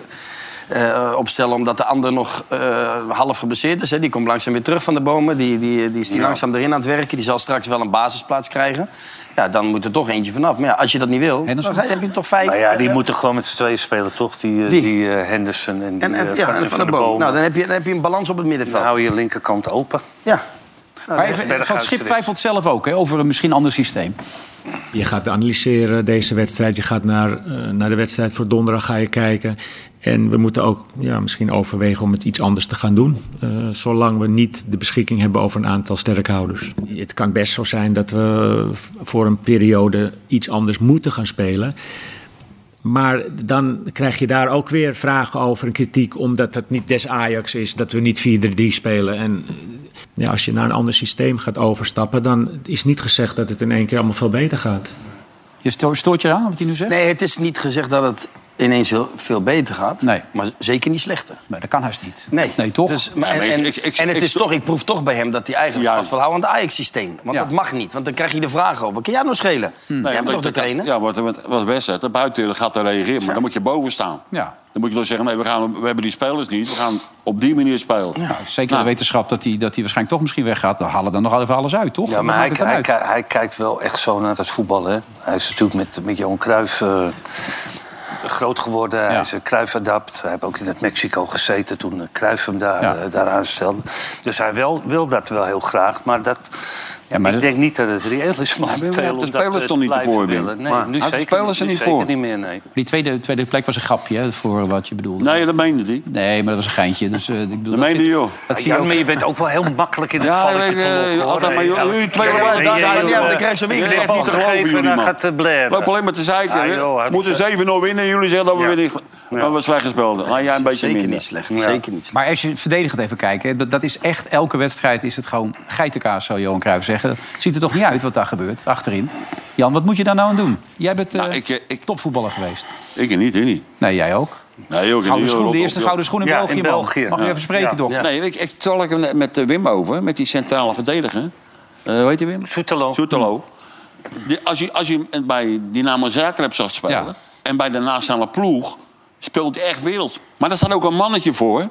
D: eh, opstellen omdat de ander nog eh, half geblesseerd is. Hè. Die komt langzaam weer terug van de bomen. Die, die, die is langzaam erin aan het werken. Die zal straks wel een basisplaats krijgen. Ja, dan moet er toch eentje vanaf. Maar ja, als je dat niet wil, dan
B: Henderson.
D: ga- heb je toch vijf...
E: Nou ja, die
D: eh,
E: moeten gewoon met z'n tweeën spelen, toch? Die, eh,
B: Wie?
E: die eh, Henderson en die
D: En, en-
E: eh,
D: ja,
E: van,
D: en
E: van de Boom.
D: Nou, dan heb, je, dan heb je een balans op het middenveld.
E: dan hou je linkerkant open.
D: ja. Nou,
B: Maar
D: dat-
B: even-
E: Berghuis
B: Van Schip
E: er is.
B: twijfelt zelf ook hè, over een misschien ander systeem.
G: Je gaat analyseren deze wedstrijd. Je gaat naar, eh, naar de wedstrijd voor donderdag ga je kijken. En we moeten ook ja, misschien overwegen om het iets anders te gaan doen. eh, zolang we niet de beschikking hebben over een aantal sterkhouders. Het kan best zo zijn dat we voor een periode iets anders moeten gaan spelen. Maar dan krijg je daar ook weer vragen over en kritiek, omdat het niet des Ajax is dat we niet 4-3-3 spelen. En eh, ja, als je naar een ander systeem gaat overstappen, dan is niet gezegd dat het in één keer allemaal veel beter gaat.
B: Je sto- stoort je aan wat hij nu zegt?
D: Nee, het is niet gezegd dat het ineens heel veel beter gaat.
B: Nee.
D: Maar zeker niet slechter.
B: Maar dat kan haast niet.
D: Nee.
B: nee toch?
D: Dus, maar en,
C: maar ik-
D: en,
C: ik- ik-
D: en het
C: ik-
D: is toch, ik proef toch bij hem dat hij eigenlijk
C: Ja.
D: vastverhoudt aan het Ajax-systeem. Want
B: Ja.
D: dat mag niet, want dan krijg je de vraag over. Kan jij nou schelen? Jij bent toch de trainer?
C: Ja, wordt wordt- wordt wedstrijd. De buiten gaat er reageren, maar dan moet je boven staan.
B: Ja.
C: Dan moet je dan zeggen, nee, we, gaan, we hebben die spelers niet. We gaan op die manier spelen.
B: Nou, zeker de wetenschap dat hij dat hij waarschijnlijk toch misschien weggaat. Dan halen dan nog even alles uit, toch?
E: Ja,
B: Dan
E: maar hij,
B: maakt het dan
E: hij,
B: uit.
E: ki- hij kijkt wel echt zo naar het voetbal. Hè? Hij is natuurlijk met, met Johan Cruijff eh, groot geworden. Hij is een Cruijff-adapt. Hij heeft ook in het Mexico gezeten toen eh, Cruijff hem daar,
B: Ja.
E: eh, daar aanstelde. Dus hij wel, wil dat wel heel graag. Maar, dat,
B: Ja, maar
E: ik
B: dat-
E: denk niet dat het reëel is
C: hij
E: momenteel.
C: heeft
E: om
C: de
E: dat,
C: spelers
E: eh,
C: toch niet
E: blijven
C: ervoor, Wim?
E: willen. Nee,
C: Maar
E: nu
C: hij heeft de
E: zeker,
C: spelers er
E: nu
C: niet
E: zeker
C: voor.
E: niet meer, nee.
B: Die tweede, tweede plek was een grapje, hè, voor wat je bedoelde.
C: Nee, dat meende die.
B: Nee, maar dat was een geintje. Dus, eh, ik bedoel, dat
C: meen
B: zit-
C: je, joh.
B: Dat
E: Ja,
B: zie je
E: Jan,
B: ook.
E: maar Ah, je bent ook wel heel makkelijk in het
C: Ja,
E: valletje
C: ik,
E: te
C: eh,
E: lokken. hoor.
C: altijd maar, joh,
E: Hey,
C: u twee
E: ja,
C: erbij,
E: nee,
C: daar
E: jij
C: zijn we
E: wil,
C: niet aan, dan
E: eh,
C: krijg je weer
E: jij
C: een
E: wil
C: klap
E: niet
C: van te geloven,
E: geven,
C: jullie,
E: dan
C: man.
E: gaat eh, het blaren.
C: Loop alleen maar te zeiken.
E: Ah,
C: hè.
E: joh, hij
C: Moeten
E: moet-
C: 7-0 winnen en jullie zeggen dat we
E: Ja.
C: weer niet... Dat we slecht gespeeld hebben. Nou, jij een beetje
D: zeker
C: minder.
D: niet slecht. Zeker niet slecht.
B: Maar als je verdedigend even kijkt, hè, dat, dat is echt elke wedstrijd is het gewoon geitenkaas, zou Johan Cruijff zeggen. Het ziet er toch niet uit wat daar gebeurt, achterin. Jan, wat moet je daar nou aan doen? Jij bent eh,
C: Nou, ik, eh, ik-
B: topvoetballer geweest.
C: Ik niet, u niet.
B: Nee, jij ook.
C: Nee, joh, ik
B: Gouden
C: niet, joh,
B: schoen, de
C: rot
B: eerste
C: op, joh.
B: gouden schoen in
E: Ja, in
B: België, man.
E: België.
B: Mag je
E: Ja.
B: even spreken,
E: Ja.
B: toch?
E: Ja.
C: Nee, ik, ik tal ik hem met eh, Wim over, met die centrale verdediger. Eh, hoe heet die Wim?
E: Soetelo.
C: Soetelo. Die, als, je, als je hem bij Dynamo Zagreb zag spelen...
B: Mm. Ja.
C: en bij de nationale ploeg, speelt hij echt wereld. Maar daar staat ook een mannetje voor.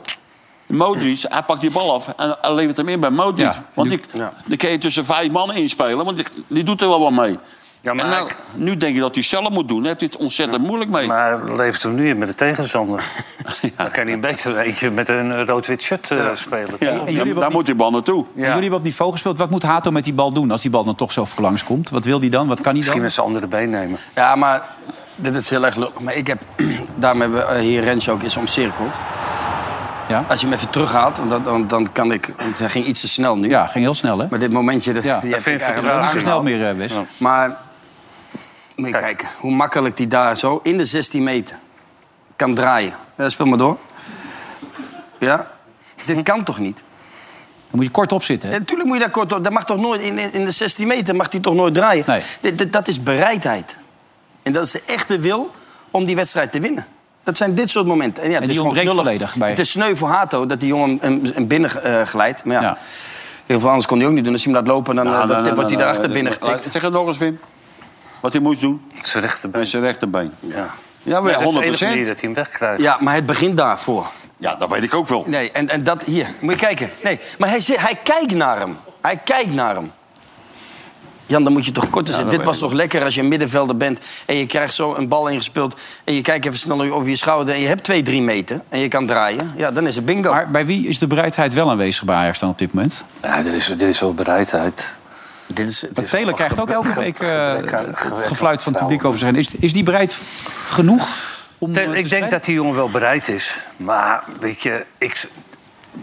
C: Modric, hij pakt die bal af en hij levert hem in bij Modric.
B: Ja, en
C: want
B: nu-
C: die, die kun je tussen vijf mannen inspelen, want die, die doet er wel wat mee.
E: Ja, maar
C: En nou,
E: ik-
C: nu denk je dat hij zelf moet doen. Daar heb je het ontzettend moeilijk mee.
E: Maar leeft hem nu in met de
C: [laughs]
E: tegenstander. Dan kan hij beter eentje met een rood-wit shirt eh, spelen. toch?
C: Ja,
B: jullie
C: daar
B: hebben
C: daar
B: ook
C: moet die bal naartoe.
B: En Jullie hebben op niveau gespeeld. Wat moet Hato met die bal doen als die bal dan toch zo voor langs komt? Wat wil die dan? Wat kan hij
E: Misschien
B: dan?
E: met zijn andere been nemen.
D: Ja, maar dit is heel erg leuk. Maar ik heb, [clears throat] daarom hebben we eh, hier Rens ook eens omcirkeld.
B: Ja?
D: Als je hem even terughaalt, want dan, dan, dan kan ik... Want hij ging iets te snel nu.
B: ja, ging heel snel, hè?
D: Maar dit momentje... Dat,
B: Ja,
D: die
B: dat
D: heb
E: vind
D: ik
E: ik
D: eigenlijk
E: vertrouwen.
D: wel
B: Niet zo snel
D: aangehaald.
B: meer, eh, Wes.
D: Maar moet je kijken hoe makkelijk die daar zo in de 16 meter kan draaien. Ja, speel maar door. Ja, dit kan toch niet?
B: Dan moet je kort op zitten. hè?
D: Natuurlijk moet je daar kort op. Dat mag toch nooit in, in- in de 16 meter mag die toch nooit draaien.
B: Nee.
D: Dit- dit- dat is bereidheid. En dat is de echte wil om die wedstrijd te winnen. Dat zijn dit soort momenten. En ja, het
B: die
D: is gewoon
B: ontbreekt
D: knullig.
B: volledig bij-
D: Het is sneu voor Hato dat die jongen hem, hem binnen eh, glijdt. Maar ja,
B: Ja.
D: heel veel anders kon hij ook niet doen. Als je hem laat lopen, dan,
C: Nou,
D: eh, dan wordt hij daarachter binnen getikt.
C: eh, Zeg het nog eens, Wim. Wat hij moest doen
E: Het is zijn rechterbeen.
C: met zijn rechterbeen.
E: Ja.
C: Ja,
E: Ja, dat is
C: maar
E: de enige
C: 100%.
E: manier dat hij hem wegkrijgt.
D: Ja, maar het begint daarvoor.
C: Ja, dat weet ik ook wel.
D: Nee, en, en dat hier. Moet je kijken. Nee, maar hij, zit- hij kijkt naar hem. Hij kijkt naar hem. Jan, dan moet je toch korter zitten.
C: dat
D: Dit was
C: weet ik.
D: toch lekker als je een middenvelder bent... en je krijgt zo een bal ingespeeld... en je kijkt even snel over je schouder... en je hebt twee, drie meter en je kan draaien. Ja, dan is het bingo.
B: Maar bij wie is de bereidheid wel aanwezig bij Ajax dan op dit moment?
E: Ja, er, is, er is wel bereidheid.
D: dit is, het
B: Want Taylor krijgt ook elke
E: ge-
B: week
E: ge-
B: eh,
E: gebrek aan-
B: het
E: gebrek aan
B: gefluit van het publiek
E: vertrouwen.
B: over zijn. Is, is die bereid genoeg? Om, eh,
E: Ten-
B: te
E: ik denk
B: strijden?
E: dat die jongen wel bereid is. Maar weet je, ik,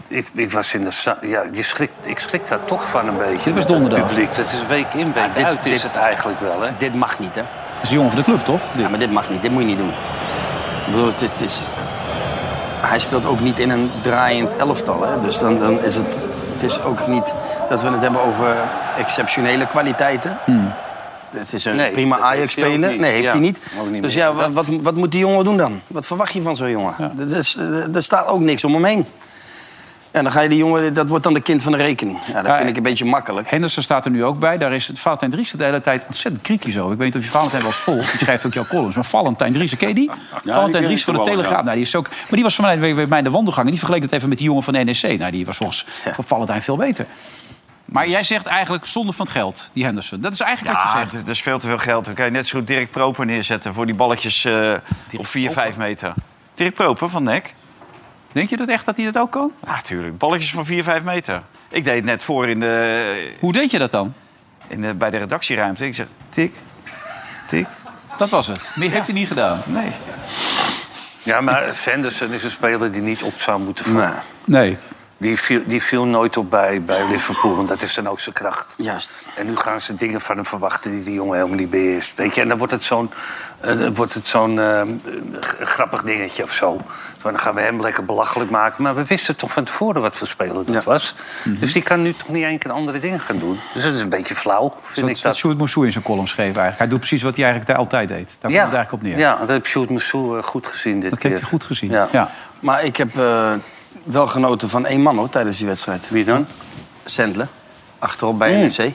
E: ik, ik was in de za- ja, je schrikt, ik schrik daar toch van een beetje.
B: Dit was
E: met dat
B: donderdag.
E: Publiek. Dat is week in, week
D: Ja, Ah, dit-
E: uit is
D: dit-
E: het eigenlijk wel. Hè?
D: dit mag niet, hè?
B: Dat is de jongen van de club, toch? Dit.
D: Ja, maar dit mag niet. Dit moet je niet doen. Ik bedoel, het, het is... Hij speelt ook niet in een draaiend elftal. Hè? Dus dan, dan is het... Het is ook niet dat we het hebben over exceptionele kwaliteiten.
B: Hmm.
D: Het is een
E: Nee,
D: prima
E: dat heeft hij ook
D: Ajax-speler.
E: niet.
D: Nee, heeft
E: Ja,
D: hij niet.
E: ook niet
D: Dus
E: meer.
D: ja, wat, wat, wat moet die jongen doen dan? Wat verwacht je van zo'n jongen? Er, is- eh, er staat ook niks om hem heen. En dan ga je die jongen... Dat wordt dan de kind van de rekening. Ja, dat
B: Ja,
D: vind ik een beetje makkelijk.
B: Henderson staat er nu ook bij. Daar is het Valentijn Driessen de hele tijd ontzettend kritisch over. Ik weet niet of je Valentijn wel eens volgt. Die schrijft ook jouw columns. Maar Valentijn Driessen, ken je die?
C: ken
B: Valentijn
C: ik
B: Driessen van de
C: wel, ja.
B: Telegraaf. Nou, die is ook, maar die was voor mij bij mij in de wandelgang. En die vergeleek dat even met die jongen van de NEC. Nou, die was volgens voor Valentijn veel beter. Maar jij zegt eigenlijk zonde van het geld, die Henderson. Dat is eigenlijk wat je
H: Ja,
B: zegt.
H: d- dat is veel te veel geld. Dan kan je net zo goed Dirk Proper neerzetten voor die balletjes eh, op 4, 5 meter. Dirk Proper van Nek?
B: Denk je dat echt dat hij dat ook kan?
H: Natuurlijk, balletjes van 4, 5 meter. Ik deed het net voor in de,
B: Hoe deed je dat dan?
H: in de, bij de redactieruimte. Ik zeg, tik, tik,
B: Dat was het. Meer heeft hij niet gedaan.
H: nee.
E: Ja, maar Sanderson is een speler die niet op zou moeten vallen.
B: Nee.
E: Die viel, die viel nooit op bij, bij Liverpool, want dat is dan ook zijn kracht.
D: Juist.
E: En nu gaan ze dingen van hem verwachten die die jongen helemaal niet beheerst. Weet je? En dan wordt het zo'n eh, dan wordt het zo'n eh, g- grappig dingetje of zo. Dan gaan we hem lekker belachelijk maken. Maar we wisten toch van tevoren wat voor speler dat was.
D: Mhm.
E: Dus die kan nu toch niet één keer andere dingen gaan doen. Dus dat is een beetje flauw, vind
B: Wat,
E: ik
B: wat
E: dat.
B: Sjoerd Moussou in zijn column schreef eigenlijk. Hij doet precies wat hij eigenlijk daar altijd deed. Daar komt het eigenlijk op neer.
E: ja, dat heb Sjoerd Moussou eh, goed gezien dit
B: Dat
E: keer.
B: heeft hij goed gezien.
E: Ja.
B: Ja.
D: Maar ik heb eh, wel genoten van één man hoor, tijdens die wedstrijd.
E: Wie dan?
D: Sendler. Achterop bij
E: Mm.
D: NEC.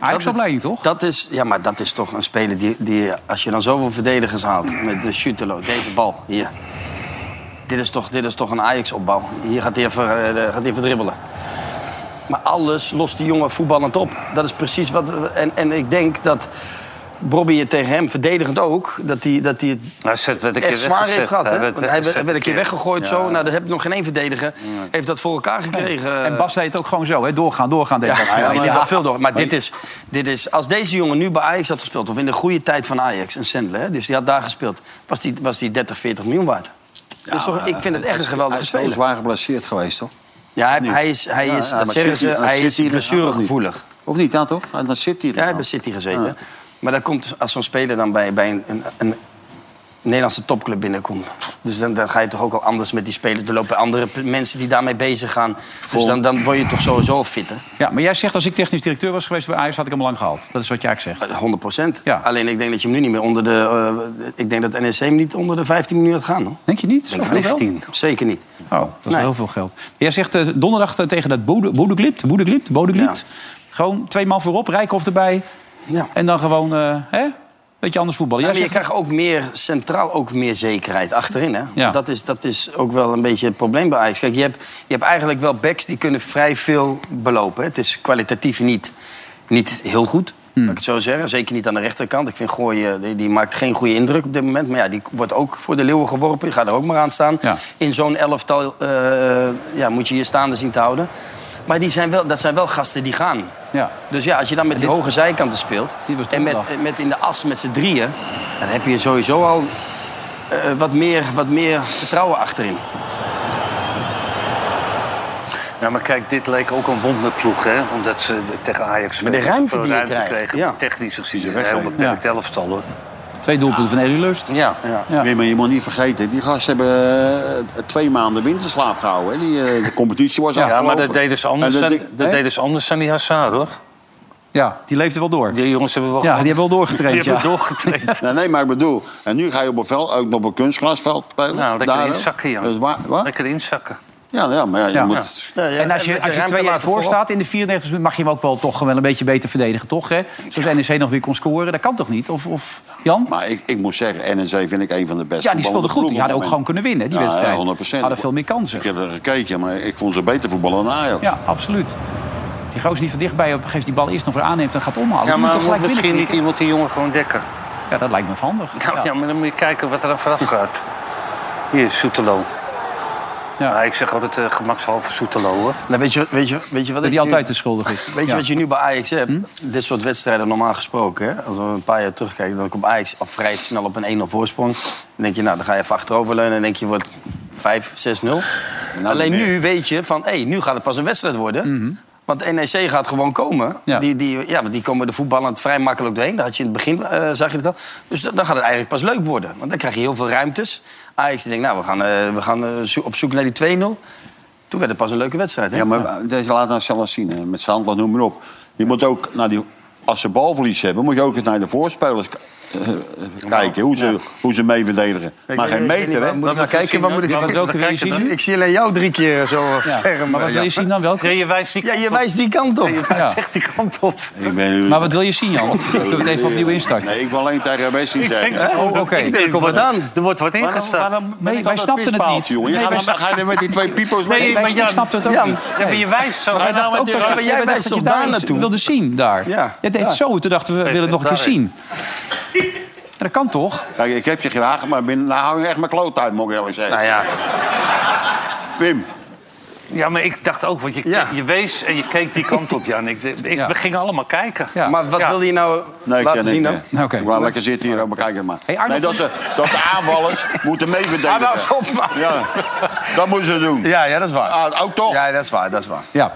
B: Ajax-opleiding, toch?
D: Dat is, ja, maar dat is toch een speler die, die als je dan zoveel verdedigers haalt met de Schutelo, deze bal hier. Dit is toch, dit is toch een Ajax-opbouw. Hier gaat hij, even, eh, gaat hij even dribbelen. Maar alles lost die jongen voetballend op. Dat is precies wat. we- En, en ik denk dat Bobby het tegen hem, verdedigend ook, dat hij, dat hij het
E: Nou, zet werd een keer
D: echt zwaar heeft
E: weggezet. eh,
D: gehad. Hè?
E: Hij
D: Want
E: werd
D: Hij werd,
E: weggezet
D: hij werd een keer weggegooid
E: Ja.
D: zo. Nou, daar heb nog geen één verdediger. Heeft dat voor elkaar gekregen.
B: En Bas deed het ook gewoon zo, hè? doorgaan, doorgaan. Deed
D: Ja,
B: Bas.
D: Ah, ja, maar,
B: Ja.
D: wel veel door. Maar dit is, dit is, als deze jongen nu bij Ajax had gespeeld... of in de goede tijd van Ajax, en Sendler, hè, dus die had daar gespeeld... was die, was die 30, 40 miljoen waard. dus toch, ik vind het echt een geweldige
C: Hij is
D: speler.
C: zwaar geblesseerd geweest, toch?
D: Ja, hij, hij is, hij
C: Ja,
D: is
C: ja,
D: dat
C: maar
D: zeggen
C: City-
D: ze,
C: dan
D: hij
C: zit
D: is
C: hij er nou,
D: blessuregevoelig.
C: Of niet, dan toch? En dan zit hij er
D: Ja, hij heeft
C: nou.
D: bij City gezeten. Maar dan komt, als zo'n speler dan bij, bij een, een, een Nederlandse topclub binnenkomt... dus dan, dan ga je toch ook al anders met die spelers. Er lopen andere p- mensen die daarmee bezig gaan. Dus dan, dan word je toch sowieso al fitter.
B: Ja, maar jij zegt als ik technisch directeur was geweest bij Ajax had ik hem lang gehaald. Dat is wat jij eigenlijk zegt.
D: 100 procent.
B: Ja.
D: Alleen ik denk dat je hem nu niet meer onder de. eh, ik denk dat NEC hem niet onder de 15 miljoen gaat gaan. Hoor.
B: Denk je niet? Zo veel geld?
E: 15.
D: Zeker niet.
B: Oh, dat is
D: Nee.
B: heel veel geld. Jij zegt eh, donderdag eh, tegen dat Boede- Boedeglipt, Boedeglipt, Bodeglipt. Gewoon twee man voorop, Rijkoff erbij.
D: Ja.
B: En dan gewoon, eh hè? Beetje anders voetballen.
D: Ja,
B: Jij
D: maar je
B: zegt,
D: krijgt ook meer centraal ook meer zekerheid achterin. Hè?
B: Ja.
D: Dat, is, dat is ook wel een beetje het probleem bij Ajax. Kijk, je hebt, je hebt eigenlijk wel backs die kunnen vrij veel belopen. Hè? Het is kwalitatief niet, niet heel goed.
B: Hm. Hmm.
D: Laat ik het zo zeggen. Zeker niet aan de rechterkant. Ik vind Gooi, eh, die, die maakt geen goede indruk op dit moment. Maar ja, die wordt ook voor de leeuwen geworpen. Die gaat er ook maar aan staan.
B: Ja.
D: In zo'n elftal eh, ja, moet je je staande zien te houden. Maar die zijn wel, dat zijn wel gasten die gaan.
B: Ja.
D: Dus ja, als je dan met die hoge zijkanten speelt...
B: Die was
D: en met,
B: donderdag.
D: en met in de as met z'n drieën... dan heb je sowieso al eh, wat, meer, wat meer vertrouwen achterin.
E: Ja, maar kijk, dit leek ook een wonderploeg, hè? Omdat ze tegen Ajax
D: Maar de
E: veel-
D: ruimte
E: veel
D: die je
E: ruimte
D: krijgt,
E: kregen.
D: ja.
E: Technisch gezien
C: Die
E: is
C: ze
E: het een heel
C: weggeven.
E: beperkt elftal, hoor.
B: twee doelpunten van Eddie Lust.
D: Ja. ja.
B: Ja.
C: Nee, maar je moet niet vergeten, die gasten hebben eh, twee maanden winterslaap gehouden. Hè? Die, eh, de competitie was
E: Ja,
C: afgelopen.
E: maar dat deden ze anders,
C: En
E: dan,
C: dat
E: dat
C: dik- hè?
E: deden ze anders dan die Hazard, hoor.
B: Ja, die leefde wel door.
E: Die jongens hebben wel...
B: Ja, die hebben wel
E: die
B: doorgetraind.
E: hebben
B: Ja.
C: [laughs]
E: doorgetraind.
C: Nee, nee, maar ik bedoel, en nu ga je op een veld, ook nog op een kunstglasveld spelen.
E: Nou, lekker
C: Daar ook.
E: inzakken, Jan.
C: Dat is waar- wat?
E: Lekker inzakken.
C: Ja, ja, maar ja, je
B: Ja.
C: moet...
B: Ja. En als je, als je
D: ruimte
B: 2 voor
D: laten voorop.
B: staat in de 94 minuten... mag je hem ook wel toch wel een beetje beter verdedigen, toch? Hè? Zoals NEC nog weer kon scoren, dat kan toch niet? Of, of Jan?
C: Maar ik, ik moet zeggen, NEC vind ik een van de beste
B: Ja, die speelden goed. Die hadden ook gewoon kunnen winnen, die wedstrijd.
C: Ja, 100%.
B: Hadden veel meer kansen.
C: Ik heb er gekeken, maar ik vond ze beter voetballen dan Ajax.
B: Ja, absoluut. Die gozer die van dichtbij op geeft die bal eerst nog weer aanneemt en gaat omhalen.
E: Ja,
B: Die moet
E: maar
B: toch
E: moet
B: gelijk
E: misschien niet
B: binnen-
E: iemand die jongen gewoon dekken.
B: Ja, dat lijkt me van handig.
E: Nou ja.
B: ja.
E: maar dan moet je kijken wat er aan vooraf gaat. Hier is Soetelo.
B: Ja.
E: Ja. Ik zeg altijd eh, gemakshalve Soetelo, hoor.
D: Nou, weet, je, wat- weet, je, weet je wat
B: Dat
D: ik
B: hij
D: nu-
B: altijd de schuldig is.
D: Weet je
B: Ja. Hm?
D: wat je nu bij Ajax hebt? Dit soort wedstrijden normaal gesproken. Hè? Als we een paar jaar terugkijken, dan komt Ajax al vrij snel op een 1-0 voorsprong. Dan denk je, nou, dan ga je even achteroverleunen en denk je, wordt 5, 6-0.
B: Nou,
D: Alleen
C: niet meer.
D: nu weet je van, hé, nu gaat het pas een wedstrijd worden. Want NEC gaat gewoon komen.
B: Mhm. Ja.
D: Die, die, ja, want die komen de voetballend vrij makkelijk doorheen. Dat had je in het begin, eh, zag je dat al. Dus da- dan gaat het eigenlijk pas leuk worden. Want dan krijg je heel veel ruimtes. Ajax die denkt, nou, we gaan, eh, we gaan eh, zo- op zoek naar die 2-0. Toen werd het pas een leuke wedstrijd. Hè?
C: Ja, maar eh, deze laat nou zelf zien. hè. Met Sandler, noem maar op. Je moet ook naar die... Als ze balverlies hebben, moet je ook eens naar de voorspelers k- eh, kijken. Hoe ze, hoe ze mee verdedigen. maar
D: weet-
C: geen
D: ik weet niet
C: meter, nou hè?
D: waar- Moet ik maar kijken, waar moet ik
B: Ja,
D: [laughs]
B: maar welke wil je
E: Kijken
B: zien?
D: Ik zie alleen jou drie keer zo op het
B: Ja.
D: scherm.
B: Maar wat wil je zien dan? Welke?
E: Ja, je wijst die
D: Ja,
E: kant
D: je
E: op.
D: wijst die kant op.
E: Ja, je wijst
B: Ja.
E: echt die kant op.
C: Ik ben...
B: Maar wat wil je zien, Jan? Zullen we het even opnieuw instarten?
C: Nee, ik wil alleen tegen Bessie zeggen.
B: Hè? Oké.
E: Ik denk,
D: Kom maar
E: wordt-
D: dan.
E: Er wordt wat
C: Waarom-
E: ingestapt.
C: waarom ben
B: Nee,
C: ik
B: wij
C: altijd
B: snapten het
C: pispaaltje,
B: niet.
C: jongen? Je
B: Nee,
C: gaat-
B: wij
C: dan ga je met die twee pipo's mee.
E: Nee,
B: Maar
E: maar
B: ik
E: Jan,
B: snapte het ook
D: Jan,
B: niet.
E: Ja, maar je wijst zo.
C: Ga je nou
B: Ook
C: met die
B: dat-
D: maar jij
B: jij
D: wijst
B: dacht dat je
D: toch
B: daar
D: daar
B: iets
D: naartoe?
B: wilde zien, daar.
D: Ja.
B: Je deed
D: Ja.
B: zo, toen dachten we, we willen het nog een keer zien. Ja, dat kan toch?
C: Kijk, ik heb je graag, maar binnen, nou hou je echt mijn kloot uit, moet ik eerlijk zeggen.
D: Nou ja,
C: Wim,
E: Ja, maar ik dacht ook, want je,
D: Ja.
E: je wees en je keek die kant op, Jan. Ik, ik, We gingen allemaal kijken.
B: Ja.
D: Maar wat
E: Ja.
D: wil je nou
C: Nee, ik
D: laten
C: ken
D: zien dan?
C: het niet.
B: dan? Oké.
C: Ik wou lekker zitten hier, ook maar kijken maar.
B: Hey, Arno,
C: nee, dat,
B: vond
C: ze, dat de aanvallers moeten meeverdedigen.
D: Ah, nou, stop maar.
C: Ja, dat moeten ze doen.
D: Ja, ja, dat is waar.
C: Ah, ook toch?
D: Ja, dat is waar, dat is waar.
B: Ja.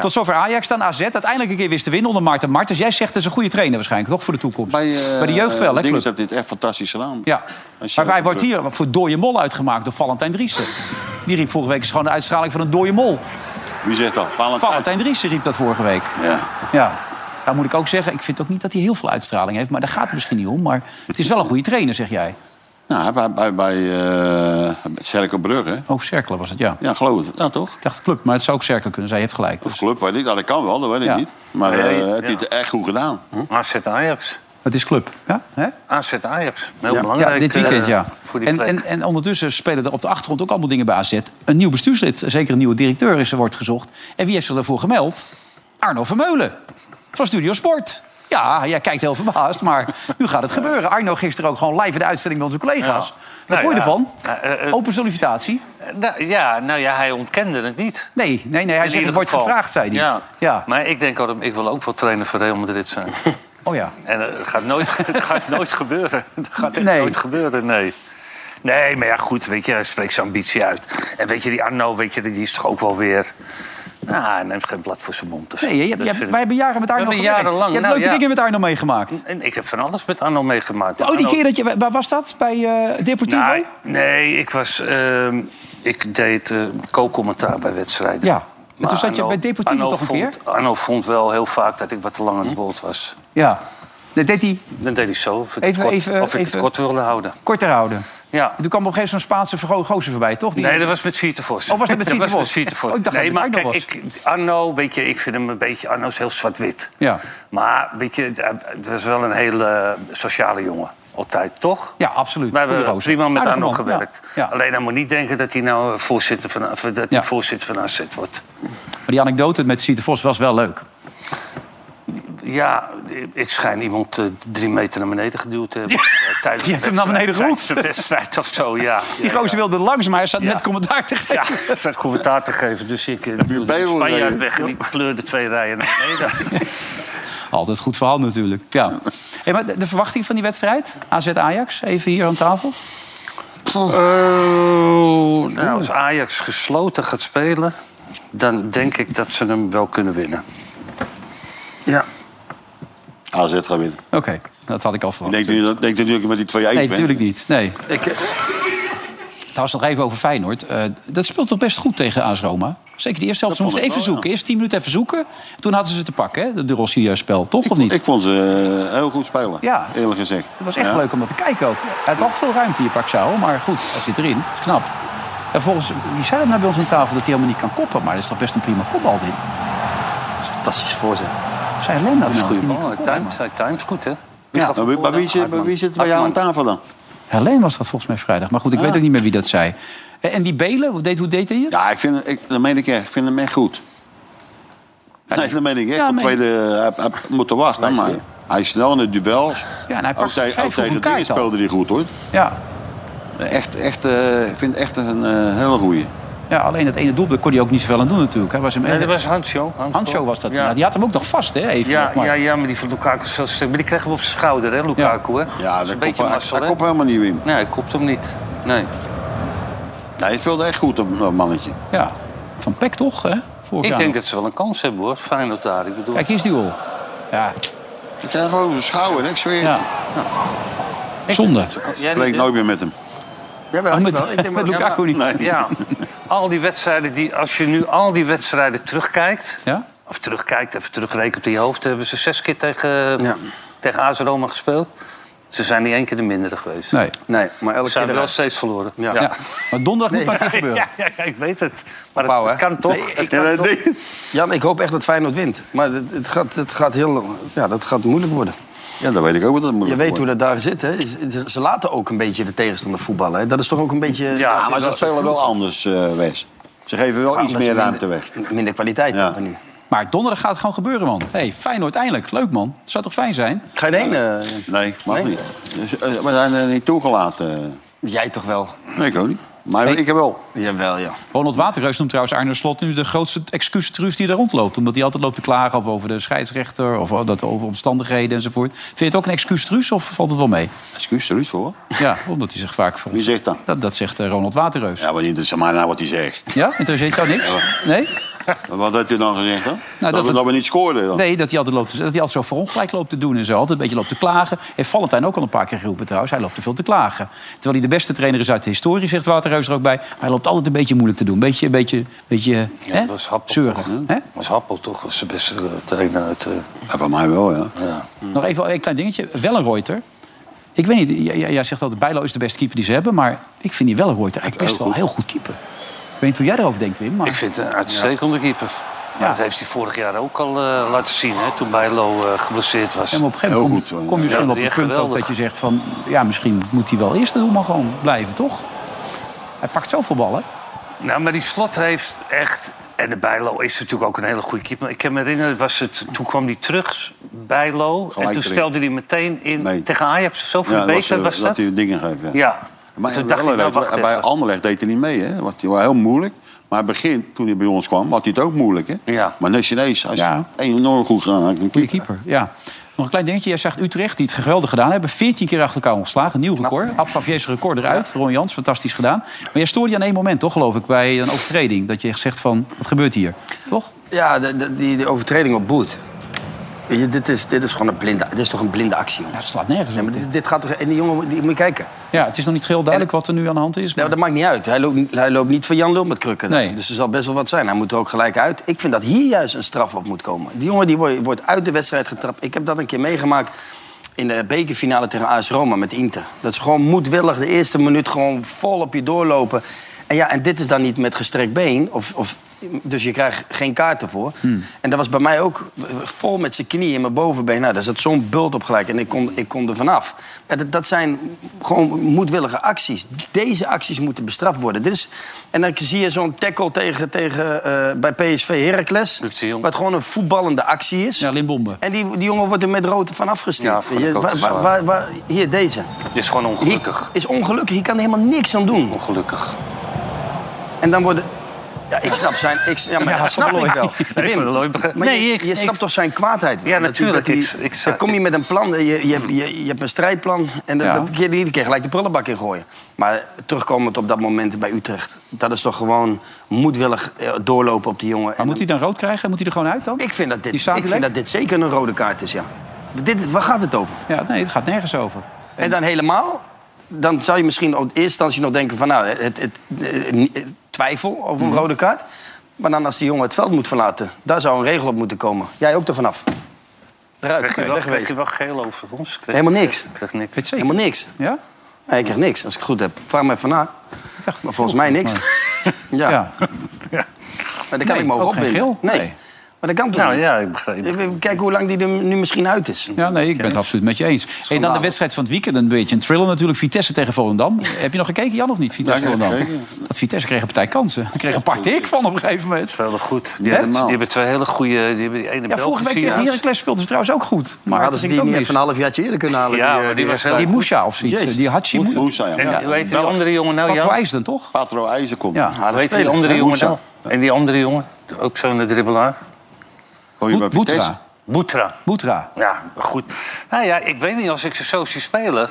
B: Tot zover Ajax dan AZ. Uiteindelijk een keer wist te winnen onder Maarten Martens. Jij zegt dat is een goede trainer waarschijnlijk, toch, voor de toekomst? Bij,
C: eh,
B: de jeugd wel, hè,
C: Dinges
B: club?
C: heeft dit echt fantastisch gedaan.
B: Ja.
C: Als je-
B: Maar hij wordt hier voor dode mol uitgemaakt door Valentijn Driessen. Die riep vorige week is gewoon de uitstraling van een dode mol.
C: Wie zegt dat? Valentijn.
B: Valentijn Driessen riep dat vorige week.
C: Ja.
B: Ja. Daar moet ik ook zeggen, ik vind ook niet dat hij heel veel uitstraling heeft. Maar daar gaat het misschien niet om. Maar het is wel een goede trainer, zeg jij.
C: Nou, bij, bij, bij eh Cerkel Brugge.
B: Oh, Cerkelen was het, ja.
C: Ja, geloof het. Ja, toch?
B: Ik dacht club, maar het zou ook Cerkelen kunnen zijn. Je hebt gelijk.
C: Of club, weet ik. Nou, dat kan wel, dat weet ik
B: Ja.
C: niet. Maar eh,
E: Nee,
C: het
E: ja.
C: is echt goed gedaan.
E: AZ Ajax.
B: Het is club. Ja? Hè?
E: AZ Ajax. Heel belangrijk.
B: Ja, dit weekend,
E: eh,
B: ja.
E: Voor die
B: En,
E: plek.
B: en, en ondertussen spelen er op de achtergrond ook allemaal dingen bij AZ. Een nieuw bestuurslid, zeker een nieuwe directeur, is er wordt gezocht. En wie heeft zich daarvoor gemeld? Arno Vermeulen van Studio Sport. Ja, jij kijkt heel verbaasd, maar nu gaat het gebeuren. Arno gisteren ook gewoon live in de uitstelling bij onze collega's.
E: Ja.
B: Wat
E: Nou
B: vond je
E: ja.
B: ervan?
E: Eh, eh,
B: Open sollicitatie?
E: Nou, ja, nou ja, hij ontkende het niet.
B: Nee, nee, nee hij
E: In
B: zegt,
E: ieder
B: er wordt
E: geval.
B: gevraagd, zei hij.
E: Ja.
B: Ja.
E: Maar ik denk, altijd, ik wil ook wel trainer voor Real Madrid
B: [laughs]
E: zijn.
B: Oh ja.
E: En eh, het gaat nooit, het gaat nooit gebeuren. [laughs] Het gaat echt
B: Nee.
E: nooit gebeuren, nee. Nee, maar ja, goed, weet je, hij spreekt zijn ambitie uit. En weet je, die Arno, weet je, die is toch ook wel weer... Nou, hij neemt geen blad voor zijn mond. of zo.
B: Nee, je, hebt-
E: Dat
B: je hebt-
E: vind ik-
B: wij hebben jaren met Arno
E: We hebben
B: gewerkt.
E: jarenlang,
B: Je hebt
E: nou,
B: leuke
E: ja.
B: dingen met Arno meegemaakt.
E: En ik heb van alles met Arno meegemaakt.
B: Oh, die
E: Arno-
B: keer dat je... Waar was dat? Bij eh Deportivo?
E: Nee, Nou, nee, ik was... ehm, ik deed eh, co-commentaar bij wedstrijden.
B: Ja. En toen zat je bij Deportivo
E: Arno
B: toch een
E: vond, Arno vond wel heel vaak dat ik wat te lang aan het woord was.
B: Ja. Dat deed hij
E: Dan deed ik zo, of ik,
B: Even-
E: het, kort,
B: even-
E: of ik
B: even-
E: het kort wilde houden.
B: korter houden.
E: Ja.
B: En toen kwam op een gegeven moment zo'n Spaanse vergo- gozer voorbij, toch? Die-
E: Nee, dat was met Sietervos.
B: Oh,
E: [laughs]
B: was dat met Sietervos?
E: Sietervos.
B: Oh, ik dacht
E: nee,
B: dat
E: maar
B: het
E: kijk,
B: Arno
E: ik, Arno, weet je, ik vind hem een beetje... Arno is heel zwart-wit.
B: Ja.
E: Maar, weet je, eh, het was wel een hele sociale jongen. Altijd, toch?
B: Ja, absoluut.
E: We
B: Goede
E: hebben
B: roze.
E: prima met
B: Aardige
E: Arno
B: man,
E: gewerkt.
B: ja. Ja.
E: Alleen hij moet niet denken dat hij nou voorzitter van, of dat
B: Ja.
E: hij voorzitter van AZ wordt.
B: Maar die anekdote met Sieter Vos was wel leuk.
E: Ja, ik schijn iemand eh, drie meter naar beneden geduwd te hebben. Eh, Tijdens
B: Je hebt hem naar
E: de wedstrijd-
B: beneden geroepen.
E: tijdens de wedstrijd of zo,
B: [laughs]
E: ja.
B: Die
E: Ja,
B: gozer wilde langs, maar hij zat
E: Ja.
B: net commentaar te geven.
E: Ja, het zat commentaar te geven. Dus ik eh, duwde de
C: Bijbel
E: Spanjaard
C: reden.
E: weg en die pleurde twee rijen naar beneden.
B: [laughs] Altijd goed verhaal natuurlijk. Ja. Hey, maar de, de verwachting van die wedstrijd? AZ-Ajax, even hier aan tafel.
E: nou, als Ajax gesloten gaat spelen, dan denk ik dat ze hem wel kunnen winnen.
D: Ja.
C: AZ gaat winnen.
B: Oké, dat had ik al verwacht.
C: Denk je denk dat ik met die 2-1
B: Nee,
C: ben?
B: natuurlijk niet. Nee.
D: Ik,
C: eh,
B: Trouwens, nog even over Feyenoord. Eh, dat speelt toch best goed tegen AS Roma? Zeker de eerste helft. Ze
C: vond
B: moesten
C: ik
B: even
C: wel, ja.
B: zoeken. Eerst tien minuten even zoeken. Toen hadden ze ze te pakken, hè? De Rossi-spel, toch? of niet?
C: Ik vond ze eh, heel goed spelen,
B: Ja.
C: eerlijk gezegd.
B: Het was echt
C: Ja.
B: leuk om dat te kijken ook. Hij had wel veel ruimte hier, Paxao. Maar goed, hij zit erin. Dat is knap. En volgens, wie zei dat nou bij ons aan tafel dat hij helemaal niet kan koppen? Maar dat is toch best een prima kopbal, dit?
D: fantastisch voorzet.
B: Zijn Lennon dat
E: Dat is een goede
B: nou,
E: bal. Hij timed- Hij timed goed, hè? Wie
B: Ja.
E: gaf hem
C: Maar wie- Maar wie
E: voor?
C: zit, maar wie zit bij jou aan tafel dan?
B: Helene was dat volgens mij vrijdag. Maar goed, ik weet ook niet meer wie dat zei. Eh, En en die Belen, hoe deed, hoe deed hij het?
C: Ja, ik vind, ik, dat meen ik echt. Ik vind hem echt goed. Nee, dat meen ik echt.
B: Ja,
C: Op
B: meen-
C: tweede, hij, hij moet er wachten, maar hij is snel in de duels.
B: Ja, en hij
C: ook
B: pakt
C: tegen, ook
B: vijf voor
C: tegen
B: een
C: dingen
B: kaart al.
C: speelde hij goed, hoor.
B: Ja.
C: Echt, echt, eh, ik vind het echt een eh, hele goeie.
B: ja, alleen dat ene doelpunt kon hij ook niet zoveel aan doen natuurlijk. Hij was hem
E: Nee, dat was Hansjo.
B: Hancho was dat.
E: Ja.
B: Ja, die had hem ook nog vast, hè? Even
E: Ja,
B: nog maar.
E: ja, ja, maar die van Lukaku is wel sterk. Maar die kreeg hem op zijn schouder, hè, Lukaku, hè?
C: Ja,
E: dat is
C: dat
E: een beetje
C: kop,
E: mazzel,
C: hij
E: hè?
C: kop helemaal niet in.
E: Nee, hij kopt hem niet. Nee.
C: Nee, hij speelde echt goed, dat mannetje.
B: Ja. Van Peck toch, hè? Vorig
E: Ik
B: jaar
E: denk
B: nog.
E: dat ze wel een kans hebben, hoor. Feyenoord daar. Ik bedoel...
B: Kijk, hier is die goal. Ja,
C: Ik krijg gewoon een schouder, hè, ik zweer.
B: ja.
C: het.
B: Zonde.
E: Jij
C: Ik spreek
E: niet,
C: nooit meer met hem.
B: Oh, met, [laughs] met Lukaku niet.
E: hè? Ja, al die wedstrijden die... Als je nu al die wedstrijden terugkijkt...
B: Ja?
E: Of terugkijkt, even terugrekent in je hoofd... hebben ze zes keer tegen,
D: Ja.
E: tegen AS Roma gespeeld. Ze zijn niet één keer de mindere geweest.
B: Nee.
D: Nee, maar elke
E: Ze zijn
D: keer...
E: wel steeds verloren. Ja.
B: Ja. Maar donderdag moet maar een
E: [laughs]
B: keer
E: Ja,
B: gebeuren.
E: ja, ja, ik weet het. Maar het,
D: Opbouwen,
E: het kan toch. het kan toch.
D: Jan, ik hoop echt dat Feyenoord wint. Maar het, het gaat, het gaat heel... Ja, dat gaat moeilijk worden.
C: Ja, dat weet ik ook. wat Dat moet
D: Je weet hoe dat daar zit, hè. Ze- Ze laten ook een beetje de tegenstander voetballen, hè. Dat is toch ook een beetje...
C: Ja, maar ze spelen wel anders, eh Wes. Ze geven wel iets meer ruimte weg.
D: Minder kwaliteit
C: Ja.
D: hebben nu.
B: Maar donderdag gaat het gewoon gebeuren, man. hey, Feyenoord eindelijk. Leuk, man. Het zou toch fijn zijn?
D: Ga je heen? eh,
C: Nee, mag
D: Nee?
C: niet. Dus, eh, we zijn er niet toegelaten.
D: Jij toch wel?
C: Nee, ik ook niet. Maar ik heb wel.
D: Jawel, ja.
B: Ronald Waterreus noemt trouwens Arne Slot nu de grootste excuustruus die er rondloopt. Omdat hij altijd loopt te klagen of over de scheidsrechter of dat over omstandigheden enzovoort. Vind je het ook een excuustruus of valt het wel mee?
C: Excuus, er is voor.
B: Ja, omdat hij zich vaak... voor ons-
C: Wie zegt dat?
B: Dat, dat zegt eh, Ronald Waterreus. Ja,
C: Ja, maar niet is maar nou wat hij zegt.
B: interesseert jou niks? Nee? Nou,
C: Wat heeft u dan gezegd dan? dat,
B: dat
C: we,
B: we-
C: dat we niet scoorden dan?
B: Nee, dat hij altijd, loopt, te- dat hij altijd zo verongelijk loopt te doen en zo. Altijd een beetje loopt te klagen. Heeft Valentijn ook al een paar keer geroepen trouwens. Hij loopt te veel te klagen. Terwijl hij de beste trainer is uit de historie, zegt Waterreus er ook bij. Maar hij loopt altijd een beetje moeilijk te doen. Beetje, beetje, beetje
E: Ja,
B: hè?
E: dat was Happel
B: zeurig.
E: toch?
B: hè?
E: Was Happel toch was de beste eh, trainer uit... eh,
C: Ja, van mij wel, ja.
E: ja.
B: Hm. Nog even een klein dingetje. Wellenreuter. Ik weet niet, j- j- jij zegt altijd Bijlo is de beste keeper die ze hebben. Maar ik vind die Wellenreuter eigenlijk best wel heel goed keeper. Ik weet niet hoe jij erover denkt, Wim. Maar...
E: Ik vind het een uitstekende keeper. Maar dat heeft hij vorig jaar ook al eh, laten zien, hè, toen Bijlo eh, geblesseerd was.
B: En op een gegeven moment
C: Heel goed,
B: kom, kom je
E: Ja,
B: misschien wel op een
E: echt
B: punt ook
E: geweldig.
B: dat je zegt van... ja, misschien moet hij wel eerst de doelman gewoon blijven, toch? Hij pakt zoveel ballen.
E: Nou, maar die slot heeft echt. En de Bijlo is natuurlijk ook een hele goede keeper. Maar ik kan me herinneren, was het, toen kwam hij terug, Bijlo. en toen
C: erin.
E: stelde hij meteen in
C: Nee.
E: tegen Ajax of zo. Voor
C: Ja,
E: de beker
C: eh,
E: was dat?
C: dat hij dingen geeft, ja.
E: Ja.
C: Maar
E: toen dacht ik, nou,
C: Anderlecht-
E: wacht even.
C: bij Anderlecht deed hij niet mee, hè. Was hij wel heel moeilijk. Maar het begin, toen hij bij ons kwam, had hij het ook moeilijk, hè.
E: Ja.
C: Maar net Chinees, hij is
B: Ja.
C: enorm goed gegaan.
B: Goede keeper, ja. Nog een klein dingetje. Jij zegt Utrecht, die het geweldig gedaan hebben. 14 keer achter elkaar ontslagen. Nieuw record. Nou. record eruit. Ron Jans, fantastisch gedaan. Maar jij stoorde je aan één moment, toch, geloof ik, bij een overtreding. Dat je echt zegt van, wat gebeurt hier? Toch?
D: Ja, de, de- die, die overtreding op Boet. Weet je, dit is, dit is gewoon een blinde, dit is toch een blinde actie, jongen.
B: Dat slaat nergens
D: Nee,
B: op.
D: maar dit, dit gaat toch... En die jongen, die, moet je kijken.
B: Ja, het is nog niet geheel duidelijk wat er nu aan de hand is.
D: Nou,
B: maar-
D: dat maakt niet uit. Hij loopt, hij loopt niet van Jan Lul met krukken.
B: Nee.
D: Dus er zal best wel wat zijn. Hij moet er ook gelijk uit. Ik vind dat hier juist een straf op moet komen. Die jongen die wordt, wordt uit de wedstrijd getrapt. Ik heb dat een keer meegemaakt in de bekerfinale tegen AS Roma met Inter. Dat is gewoon moedwillig de eerste minuut gewoon vol op je doorlopen. En ja, en dit is dan niet met gestrekt been. Of, of, dus je krijgt geen kaart ervoor.
B: Hmm.
D: En dat was bij mij ook eh, vol met zijn knieën in mijn bovenbeen. Nou, daar zat zo'n bult op gelijk en ik kon, ik kon er vanaf. Ja, dat, dat zijn gewoon moedwillige acties. Deze acties moeten bestraft worden. Dit is, en dan zie je zo'n tackle tegen, tegen, eh, bij PSV Heracles.
E: Luc de Jong.
D: Wat gewoon een voetballende actie is.
B: Ja, Limbombe.
D: En die, die jongen wordt er met rood van
E: Ja,
D: afgestuurd.
E: vond ik
D: Je-
E: ook
D: waar-
E: te
D: waar-
E: zwaar.
D: waar- waar- hier, deze.
E: Het is gewoon
D: Hier
E: ongelukkig.
D: is ongelukkig, hier kan er helemaal niks aan doen.
E: Ongelukkig.
D: En dan worden... Ja, ik snap zijn... Ik, ja, maar
B: Ja,
D: dat
B: [laughs] snap
D: snap ik
B: ik.
D: wel.
E: [laughs] Nee, Van der Looy begrijp-
D: Maar
E: Nee,
D: je,
E: ik-
D: je
E: ik-
D: snapt toch zijn kwaadheid wel?
E: Ja,
D: Dat-
E: natuurlijk.
D: dat die-
E: Ik- ik zou-
D: dan kom je met een plan, je, je, hebt- je, je hebt een strijdplan... en dat,
B: Ja.
D: dat, die- die keer gelijk de prullenbak in gooien. Maar terugkomend op dat moment bij Utrecht... dat is toch gewoon moedwillig eh, doorlopen op die jongen. En
B: Maar moet hij dan rood krijgen? Moet hij er gewoon uit dan?
D: Ik vind dat dit,
B: Die Sadilek?
D: ik vind dat dit zeker een rode kaart is, ja. Dit, waar gaat het over?
B: Ja, nee, het gaat nergens over.
D: En dan helemaal? Dan zou je misschien op de eerste instantie nog denken van... nou, het, het, eh, ni- eh, twijfel over
B: Mhm.
D: een rode kaart. Maar dan als die jongen het veld moet verlaten... daar zou een regel op moeten komen. Jij ook er vanaf. Eruit,
E: Krijg je, wel, krijg je
D: wegwezen.
E: wel geel over ons? Krijg-
D: Helemaal niks.
E: Krijg niks.
B: Weet zeker.
D: Helemaal niks.
B: Ja?
D: Nee, ik krijg niks, als ik het goed heb. Vraag me even na.
B: dacht-
D: Maar volgens mij
B: [laughs]
D: niks. Ja,
B: Ja.
D: maar dan kan
B: Nee,
D: ik me
B: ook
D: ook
B: geen
D: opwinden.
B: geel?
D: Nee.
B: Nee.
D: Maar dat kan toch
E: Nou
D: niet?
E: ja, ik begrijp het.
D: Even kijken hoe lang die er nu misschien uit is.
B: Ja, nee, ik ben het absoluut met je eens. En dan de wedstrijd van het weekend, een beetje een thriller natuurlijk. Vitesse tegen Volendam. Heb je nog gekeken, Jan, of niet? Vitesse
C: Ja, ik heb
B: Volendam.
C: gekeken.
B: Dat Vitesse kreeg een partij kansen. Kreeg een partij ik van op een gegeven moment.
E: Wel goed. Die,
B: Hè?
E: hebben, die hebben twee hele goede. Die hebben die ene
B: Ja,
E: Belg
B: vorige week
E: gezien.
B: tegen Heracles speelden ze trouwens ook goed. Maar
D: Hadden
B: dat
D: ze
B: ging
D: die
B: ook
D: niet
B: mis.
D: even een half jaartje eerder kunnen halen?
E: Ja, maar
D: eh,
E: die was heel
B: Die Moussa of zoiets.
D: Jezus.
B: Die Hachi
C: Hoe zijn
E: En
C: ja.
E: hoe heet die andere jongen nou?
B: Patro
E: Jan?
B: IJsden, toch?
C: Patro IJzer komt.
B: Ja.
E: Hoe heet die
D: spelen,
E: andere
C: hè,
E: jongen
C: Moussa.
E: nou? En die andere jongen? Ook zo'n dribbelaar?
C: Hoor je bij
B: Boetra.
C: Vitesse?
E: Boetra.
B: Boetra.
E: Ja, maar goed. Nou ja, ik weet niet, als ik ze zo zie spelen...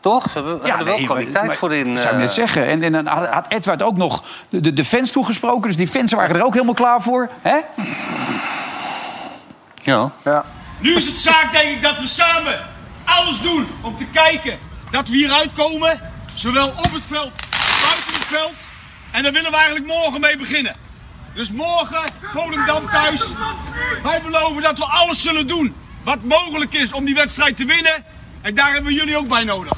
E: Toch? Ze hebben- hadden wel
B: nee,
E: kwaliteit
B: maar-
E: voor in...
B: zou ik
E: eh,
B: net zeggen. En, en dan had- had Edward ook nog de, de, de fans toegesproken. Dus die fans waren er ook helemaal klaar voor. Hè?
E: Ja.
I: Nu is het zaak, denk ik, dat we samen alles doen om te kijken dat we hieruit komen. Zowel op het veld, buiten het veld. En daar willen we eigenlijk morgen mee beginnen. Dus morgen, Volendam thuis. Wij beloven dat we alles zullen doen wat mogelijk is om die wedstrijd te winnen. En daar hebben we jullie ook bij nodig.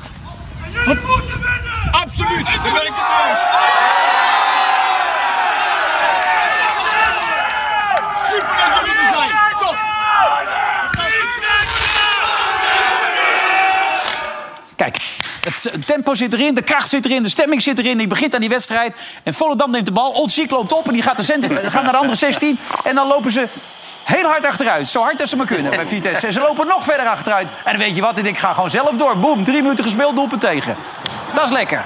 I: jullie moeten winnen! Absoluut, daar ben ik het mee eens. Super dat jullie er zijn. Top.
B: Kijk, het eh, tempo zit erin, de kracht zit erin, de stemming zit erin. Die begint aan die wedstrijd. En Volendam neemt de bal. Onziek loopt op en die gaat, de center, eh, gaat naar de andere 16. En dan lopen ze heel hard achteruit. Zo hard als ze maar kunnen bij Vitesse. En ze lopen nog verder achteruit. En dan weet je wat, ik denk, ik ga gewoon zelf door. Boom, drie minuten gespeeld, doelpunt tegen. Dat is lekker.